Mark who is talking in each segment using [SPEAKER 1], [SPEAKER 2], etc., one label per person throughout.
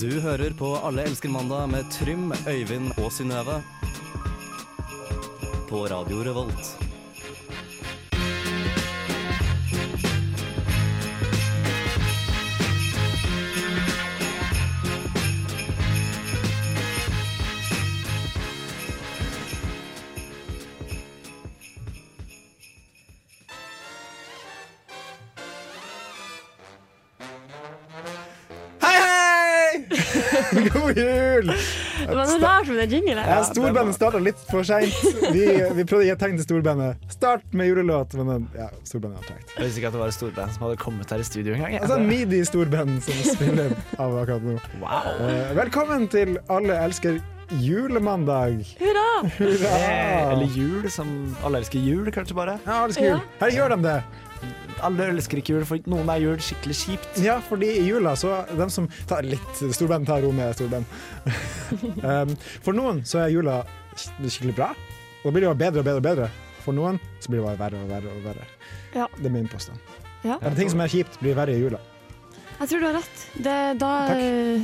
[SPEAKER 1] Du hører på Alle elsker mandag med Trym, Øyvind og Synnøve. På Radio Revolt.
[SPEAKER 2] Hei, hei! God jul!
[SPEAKER 3] Det var noe rart med den jingelen.
[SPEAKER 2] Ja, storbandet starta litt for seint. Vi, vi prøvde å gi et tegn til storbandet. Start med julelåt, men den- ja, storbandet har tregt.
[SPEAKER 4] Jeg visste ikke at det var et storband som hadde kommet her i studio engang. jeg.
[SPEAKER 2] Altså midi-storband som spiller av akkurat nå.
[SPEAKER 4] Wow.
[SPEAKER 2] Eh, Velkommen til Alle elsker julemandag.
[SPEAKER 3] Hurra!
[SPEAKER 2] Hurra!
[SPEAKER 4] Eh, Eller jul, som alle elsker jul, kanskje bare.
[SPEAKER 2] Ja, alle elsker jul.
[SPEAKER 3] Ja.
[SPEAKER 2] Her gjør de det.
[SPEAKER 4] Alle elsker ikke jul, for noen er jul skikkelig kjipt.
[SPEAKER 2] Ja, fordi i jula så dem som tar litt storband, tar ro med storband. um, for noen så er jula sk- skikkelig bra. Og da blir det jo bedre og bedre og bedre. For noen så blir det bare verre og verre og verre.
[SPEAKER 3] Ja.
[SPEAKER 2] Det er min påstand.
[SPEAKER 3] Ja.
[SPEAKER 2] Men ting som er kjipt, blir verre i jula.
[SPEAKER 3] Jeg tror du har rett. Det, da
[SPEAKER 2] Takk.
[SPEAKER 3] eh,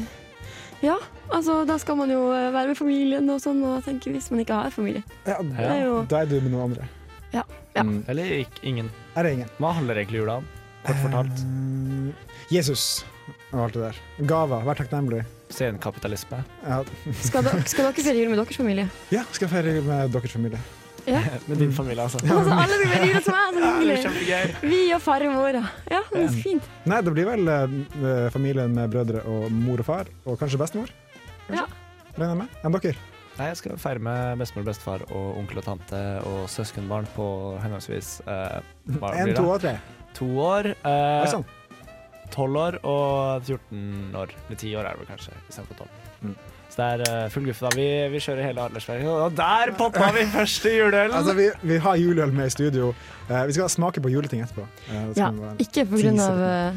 [SPEAKER 3] Ja, altså da skal man jo eh, være med familien og sånn, og jeg tenker hvis man ikke har familie.
[SPEAKER 2] Ja,
[SPEAKER 3] Det er jo
[SPEAKER 2] Da er du med noen andre.
[SPEAKER 3] Ja.
[SPEAKER 4] Mm, Eller ikk- ingen.
[SPEAKER 2] Her er ingen.
[SPEAKER 4] Hva handler egentlig jula om? Kort fortalt.
[SPEAKER 2] Um, Jesus og alt det der. Gaver. Vær takknemlig.
[SPEAKER 4] Senkapitalisme.
[SPEAKER 2] Ja,
[SPEAKER 3] Skal, dere- skal dere feire jul med deres familie?
[SPEAKER 2] ja skal jeg feire jul med deres familie.
[SPEAKER 3] Ja.
[SPEAKER 4] Med din familie, altså.
[SPEAKER 3] Altså, alle skal feire jul som meg, så
[SPEAKER 4] Ja, det er
[SPEAKER 3] hyggelig.
[SPEAKER 4] kjempegøy.
[SPEAKER 3] Vi og farmora. Ja, det er fint.
[SPEAKER 2] Nei, det blir vel eh, familien med brødre og mor og far, og kanskje bestemor.
[SPEAKER 3] Ja.
[SPEAKER 2] Regner jeg med. Enn dere?
[SPEAKER 4] Nei, jeg skal feire med bestemor, bestefar og onkel og tante og søskenbarn på henholdsvis eh, hva blir
[SPEAKER 2] Én,
[SPEAKER 4] det?
[SPEAKER 2] to og tre.
[SPEAKER 4] To år.
[SPEAKER 2] Oi sånn.
[SPEAKER 4] Eh,
[SPEAKER 2] sann.
[SPEAKER 4] 12 år og 14 år. Eller 10 år er det vel kanskje, istedenfor 12.
[SPEAKER 2] Mm.
[SPEAKER 4] Så det er eh, full guffe, da. Vi, vi kjører hele Arendalsveien. Og der poppa vi første
[SPEAKER 3] Eh.
[SPEAKER 4] juleølen!
[SPEAKER 2] Altså, vi, vi har juleøl med i studio. Eh, vi skal smake på juleting etterpå. Eh, det skal
[SPEAKER 3] Ja,
[SPEAKER 2] vi bare-
[SPEAKER 3] ikke på grunn av, eh,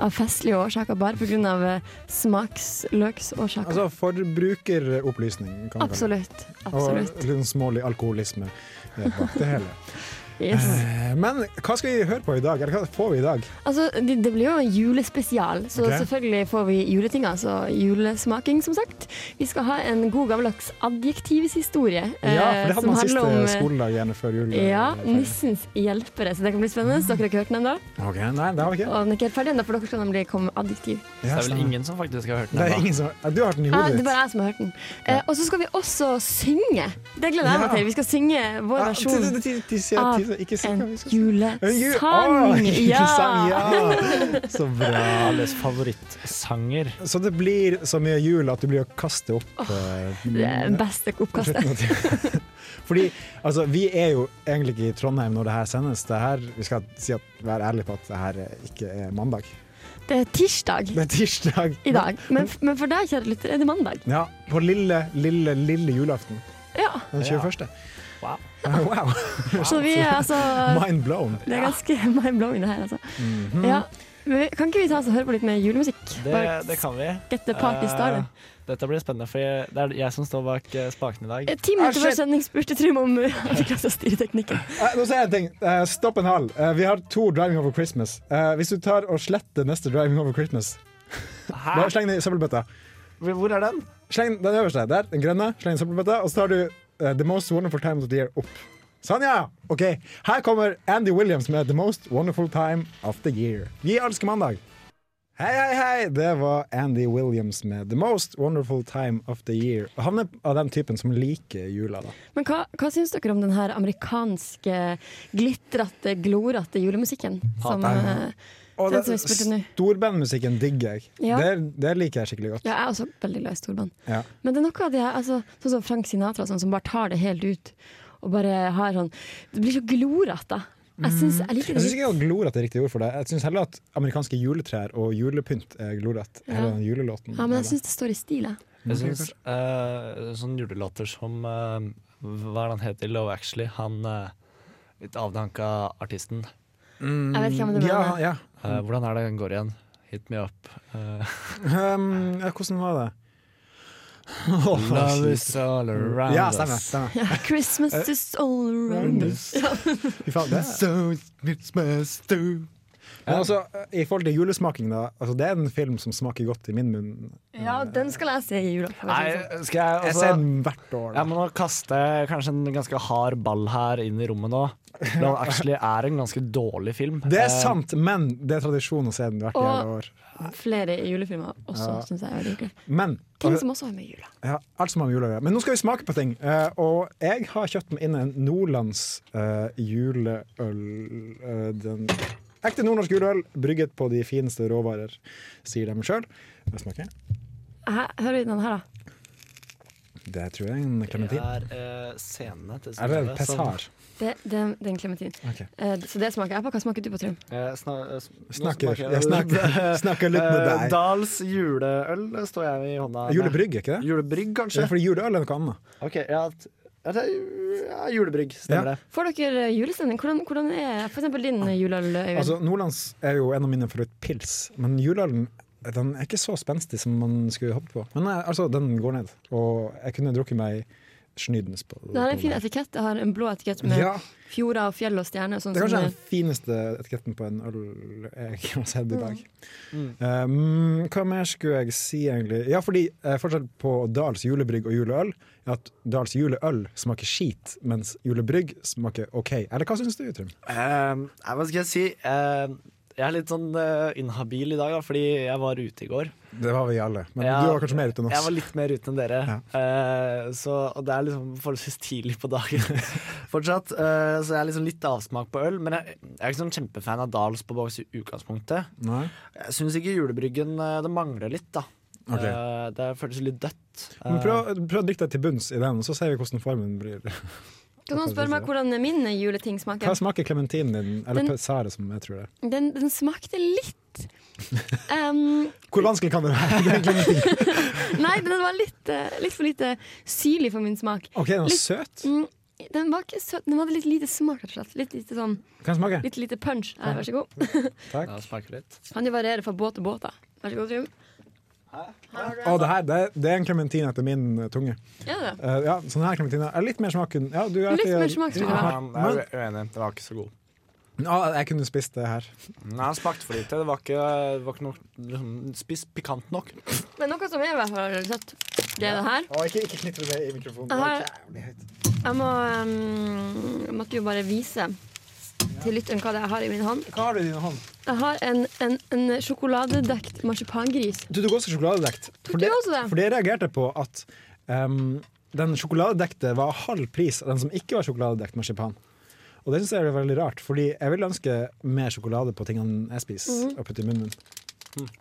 [SPEAKER 3] av festlige årsaker, bare på grunn av eh, smaksløksårsaker.
[SPEAKER 2] altså forbrukeropplysning. Kan vi kalle det.
[SPEAKER 3] Absolutt.
[SPEAKER 2] Og
[SPEAKER 3] Absolutt.
[SPEAKER 2] litt sånn smålig alkoholisme eh, bak det hele.
[SPEAKER 3] Yes.
[SPEAKER 2] Eh, Men hva skal vi høre på i dag? Eller hva får vi i dag?
[SPEAKER 3] Altså, det, det blir jo en julespesial, så
[SPEAKER 2] Ok.
[SPEAKER 3] selvfølgelig får vi juleting, altså julesmaking, som sagt. Vi skal ha en god gammeldags adjektivshistorie.
[SPEAKER 2] Ja, for
[SPEAKER 3] eh,
[SPEAKER 2] det hadde
[SPEAKER 3] som
[SPEAKER 2] man
[SPEAKER 3] handler
[SPEAKER 2] siste
[SPEAKER 3] om, eh,
[SPEAKER 2] skoledag gjerne før jul. eh,
[SPEAKER 3] Ja,
[SPEAKER 2] ferie.
[SPEAKER 3] Nissens hjelpere, så det kan bli spennende. Så dere har ikke hørt den ennå?
[SPEAKER 2] Ok, Nei, det har vi
[SPEAKER 3] Og
[SPEAKER 2] ikke.
[SPEAKER 3] den er ikke helt ferdig ennå, for dere skal nemlig komme med adjektiv.
[SPEAKER 4] det
[SPEAKER 2] Ja,
[SPEAKER 4] er vel
[SPEAKER 2] stemmer.
[SPEAKER 4] ingen som faktisk har hørt den
[SPEAKER 2] det er
[SPEAKER 4] ennå.
[SPEAKER 2] ingen som eh, Du har den i
[SPEAKER 3] Ah,
[SPEAKER 2] hodet
[SPEAKER 3] det er
[SPEAKER 2] ditt.
[SPEAKER 3] bare jeg som har hørt den. Eh, og så skal vi også synge. Det gleder jeg meg
[SPEAKER 2] Ja.
[SPEAKER 3] til. Vi skal synge vår
[SPEAKER 2] Ah,
[SPEAKER 3] versjon.
[SPEAKER 2] ti- ti- ti- ti- ti-
[SPEAKER 3] av
[SPEAKER 2] ti- sånn, Ikke si hva
[SPEAKER 3] sånn. Ah,
[SPEAKER 2] vi
[SPEAKER 3] En
[SPEAKER 2] skal si. En jul- Ah,
[SPEAKER 3] julesang!
[SPEAKER 2] julesang,
[SPEAKER 3] Ja!
[SPEAKER 2] ja! Så bra.
[SPEAKER 4] Alles favorittsanger.
[SPEAKER 2] Så det blir så mye jul at du blir å kaste opp eh,
[SPEAKER 3] Det er beste oppkastet.
[SPEAKER 2] slutten av tiden. Fordi altså, vi er jo egentlig ikke i Trondheim når det her sendes. Det her, vi skal si at, være ærlige på at det her eh, ikke er mandag.
[SPEAKER 3] Det er tirsdag
[SPEAKER 2] Det er tirsdag.
[SPEAKER 3] i dag. Men, men for deg, kjære lytter, er det mandag.
[SPEAKER 2] Ja, på lille, lille, lille julaften.
[SPEAKER 3] Ja.
[SPEAKER 2] Den 21.
[SPEAKER 4] Wow.
[SPEAKER 2] Wow,
[SPEAKER 3] Så vi er altså
[SPEAKER 2] mind blown.
[SPEAKER 3] Det er ganske mind-blowing, det her, altså. Ja. Men vi- Kan ikke vi ta oss og høre på litt mer julemusikk?
[SPEAKER 4] Mhm. Det,
[SPEAKER 3] Bare
[SPEAKER 4] det kan vi.
[SPEAKER 3] get the party started.
[SPEAKER 4] Eh, dette blir spennende, for jeg, det er jeg som står bak eh, spaken i dag.
[SPEAKER 3] Eh, Ti minutter
[SPEAKER 2] Ah,
[SPEAKER 3] før
[SPEAKER 2] shit.
[SPEAKER 3] sending spurte Trym om uh, han fikk lov til å styre teknikken.
[SPEAKER 2] Eh, Nå sier jeg en ting. Eh, Stopp en hal. Eh, Vi har to Driving Over Christmas. Eh, Hvis du tar og sletter neste Driving Over Christmas,
[SPEAKER 4] Hæ?
[SPEAKER 2] bare sleng den i søppelbøtta.
[SPEAKER 4] Hvor er den?
[SPEAKER 2] Sleng den øverste der, den grønne, sleng den i søppelbøtta, og så tar du eh, The Most Wonderful Time of the Year opp. Sånn, ja! Ok, Her kommer Andy Williams med The Most Wonderful Time of the Year. Vi elsker mandag! Hei, hei, hei! Det var Andy Williams med The Most Wonderful Time of the Year. Og Han er av den typen som liker jula, da.
[SPEAKER 3] Men hva, hva syns dere om den her amerikanske, glitrete, glorete julemusikken? Som,
[SPEAKER 2] Hater
[SPEAKER 3] eh,
[SPEAKER 2] den. Og
[SPEAKER 3] Den som vi spilte nå.
[SPEAKER 2] storbandmusikken digger jeg.
[SPEAKER 3] Ja.
[SPEAKER 2] Det, det liker jeg skikkelig godt.
[SPEAKER 3] ja, jeg er også veldig glad i storband.
[SPEAKER 2] Ja.
[SPEAKER 3] Men det er noe av det her, altså, sånn som Frank Sinatra, sånn, som bare tar det helt ut. Og bare har sånn Det blir så glorete. Jeg syns jeg liker
[SPEAKER 2] Jeg syns
[SPEAKER 3] det.
[SPEAKER 2] ikke glorete er riktig ord for det. Jeg syns heller at amerikanske juletrær og julepynt er glorete.
[SPEAKER 3] Ja.
[SPEAKER 2] Hele den julelåten.
[SPEAKER 3] Ja, men jeg syns det står i stil, jeg.
[SPEAKER 4] Jeg syns eh, sånne julelåter som eh, Hva er det han heter? Love Actually. Han eh, litt avdanka artisten.
[SPEAKER 3] Jeg vet ikke hvem du
[SPEAKER 2] ja,
[SPEAKER 3] mener.
[SPEAKER 2] Mm, ja.
[SPEAKER 4] Eh, hvordan er det den går igjen? Hit me up. Eh,
[SPEAKER 2] Um, ja, hvordan var det? Åh,
[SPEAKER 4] Love is all around
[SPEAKER 2] ja, stemmer.
[SPEAKER 4] us.
[SPEAKER 2] stemmer.
[SPEAKER 3] Ja, Christmas
[SPEAKER 2] Eh.
[SPEAKER 3] is all around us.
[SPEAKER 2] Fy faen, det er-
[SPEAKER 4] So it's Christmas too.
[SPEAKER 2] Men altså, i forhold til julesmaking, da. Altså, det er en film som smaker godt i min munn.
[SPEAKER 3] Ja, den skal jeg se i jula. for å
[SPEAKER 4] Nei,
[SPEAKER 3] si det sånn.
[SPEAKER 4] skal jeg
[SPEAKER 2] Jeg
[SPEAKER 4] altså,
[SPEAKER 2] ser den hvert år.
[SPEAKER 4] Jeg
[SPEAKER 2] Da.
[SPEAKER 4] må nå kaste kanskje en ganske hard ball her inn i rommet nå. Love Actually er en ganske dårlig film.
[SPEAKER 2] Det
[SPEAKER 4] Eh,
[SPEAKER 2] er sant, men det er tradisjon å se den hvert
[SPEAKER 3] Og-
[SPEAKER 2] jævla år.
[SPEAKER 3] Flere julefilmer også,
[SPEAKER 2] Ja.
[SPEAKER 3] syns jeg er veldig kult.
[SPEAKER 2] Men
[SPEAKER 3] Ting som også har med jula.
[SPEAKER 2] ja, alt som har med jul å gjøre. Men nå skal vi smake på ting. eh, og jeg har kjøpt meg inn en Nordlands eh, juleøl. eh, den ekte nordnorsk juleøl, brygget på de fineste råvarer, sier de sjøl.
[SPEAKER 3] Hæ? Hører vi den her, da?
[SPEAKER 2] Det tror jeg er en
[SPEAKER 4] Det
[SPEAKER 2] klementin.
[SPEAKER 4] er eh, scenene til
[SPEAKER 2] Er sånn. det
[SPEAKER 4] Synnøve som-
[SPEAKER 2] pessar?
[SPEAKER 3] Det, det, det er en klementin. Eh,
[SPEAKER 2] Ok.
[SPEAKER 3] så det smaker jeg på. Hva smaker du på, Trym?
[SPEAKER 4] Eh, sna- eh, s- nå
[SPEAKER 2] Snakker,
[SPEAKER 4] smaker
[SPEAKER 2] jeg snakker, snakker litt med
[SPEAKER 4] Eh,
[SPEAKER 2] deg.
[SPEAKER 4] Dals juleøl står jeg med i hånda. med.
[SPEAKER 2] Julebrygg, er ikke det?
[SPEAKER 4] Julebrygg,
[SPEAKER 2] Ja,
[SPEAKER 4] kanskje?
[SPEAKER 2] fordi juleøl er noe annet.
[SPEAKER 4] Ok, ja, t- ja, det er ju- ja julebrygg, stemmer
[SPEAKER 2] Ja.
[SPEAKER 4] det.
[SPEAKER 3] Får dere eh, julestemning? Hvordan, hvordan er for eksempel din eh, juleøl, Øyvind?
[SPEAKER 2] Altså, Nordlands er jo en av mine favorittpils, men juleølen den er ikke så spenstig som man skulle håpet på. Men nei, altså, den går ned, og jeg kunne drukket meg snydens på
[SPEAKER 3] det har en fin
[SPEAKER 2] på den.
[SPEAKER 3] etikett. Det har en blå etikett med
[SPEAKER 2] Ja,
[SPEAKER 3] fjorder og fjell og stjerner. Sånn
[SPEAKER 2] det er
[SPEAKER 3] som,
[SPEAKER 2] kanskje den
[SPEAKER 3] eh,
[SPEAKER 2] fineste etiketten på en øl jeg har sett i dag.
[SPEAKER 4] Mm.
[SPEAKER 2] Um, hva mer skulle jeg si, egentlig? Ja, fordi eh, forskjell på Dals julebrygg og juleøl er at Dals juleøl smaker skit, mens julebrygg smaker OK. Eller hva syns du, Trym?
[SPEAKER 4] Eh, nei, hva skal jeg si? Eh, jeg er litt sånn eh, inhabil i dag, da, fordi jeg var ute i går.
[SPEAKER 2] Det var vi alle, men
[SPEAKER 4] Ja,
[SPEAKER 2] du var kanskje mer ute enn oss.
[SPEAKER 4] Jeg var litt mer ute enn dere. Eh, så, og det er liksom forholdsvis tidlig på dagen fortsatt. Eh, så jeg er liksom litt avsmak på øl. Men jeg, jeg er ikke sånn kjempefan av Dals på boks i utgangspunktet.
[SPEAKER 2] Nei?
[SPEAKER 4] Jeg syns ikke julebryggen eh, Det mangler litt, da.
[SPEAKER 2] Ok.
[SPEAKER 4] Eh, det føles litt dødt.
[SPEAKER 2] Men
[SPEAKER 4] Eh,
[SPEAKER 2] prøv, prøv å drikke deg til bunns i den, og så ser vi hvordan formen blir.
[SPEAKER 3] Kan noen spørre meg hvordan min juleting
[SPEAKER 2] Hva
[SPEAKER 3] smaker?
[SPEAKER 2] smaker klementinen din, eller
[SPEAKER 3] Den-
[SPEAKER 2] pessare, som jeg tror det er?
[SPEAKER 3] Den, den smakte litt um,
[SPEAKER 2] Hvor vanskelig kan det være? Det er klementin.
[SPEAKER 3] Nei, den var litt, eh, litt for lite syrlig for min smak.
[SPEAKER 2] OK, den var
[SPEAKER 3] Litt-
[SPEAKER 2] søt.
[SPEAKER 3] Mm, den var ikke søt. Den hadde litt lite smak, rett og slett. Litt lite sånn
[SPEAKER 2] Kan jeg smake?
[SPEAKER 3] Litt lite punch. Nei, vær så god.
[SPEAKER 2] Takk.
[SPEAKER 4] Eh, ja, smaker litt.
[SPEAKER 3] Kan jo variere fra båt til båt, da. Vær så god, Trym.
[SPEAKER 2] Å, det her, det, det er en klementin etter min eh, tunge.
[SPEAKER 3] Ja, det.
[SPEAKER 2] Eh, ja, sånn her klementin er litt mer smaken. Ja, du er
[SPEAKER 3] Litt
[SPEAKER 2] ikke-
[SPEAKER 3] mer smak, tror jeg.
[SPEAKER 2] Ja, men-
[SPEAKER 4] Um, jeg er uenig. Den var ikke så god.
[SPEAKER 2] Ja, jeg kunne spist det her.
[SPEAKER 4] Nei, Den smakte for lite. Det var ikke, det var ikke nok, liksom, spist pikant nok.
[SPEAKER 3] Men noe som er i hvert fall søtt, det er det her.
[SPEAKER 2] ikke, ikke knytt det i mikrofonen.
[SPEAKER 3] Det var Jeg må ehm, Jeg måtte jo bare vise til lytteren hva det er jeg har i min hånd.
[SPEAKER 2] Hva har du i din hånd?
[SPEAKER 3] Jeg har en, en, en sjokoladedekt marsipangris.
[SPEAKER 2] Du tok også sjokoladedekt.
[SPEAKER 3] Tok du også det?
[SPEAKER 2] For det reagerte jeg på at ehm, den sjokoladedekte var halv pris av den som ikke var sjokoladedekt marsipan. Og det syns jeg er veldig rart, fordi jeg vil ønske mer sjokolade på tingene jeg spiser.
[SPEAKER 3] Mhm.
[SPEAKER 2] og putte i munnen min.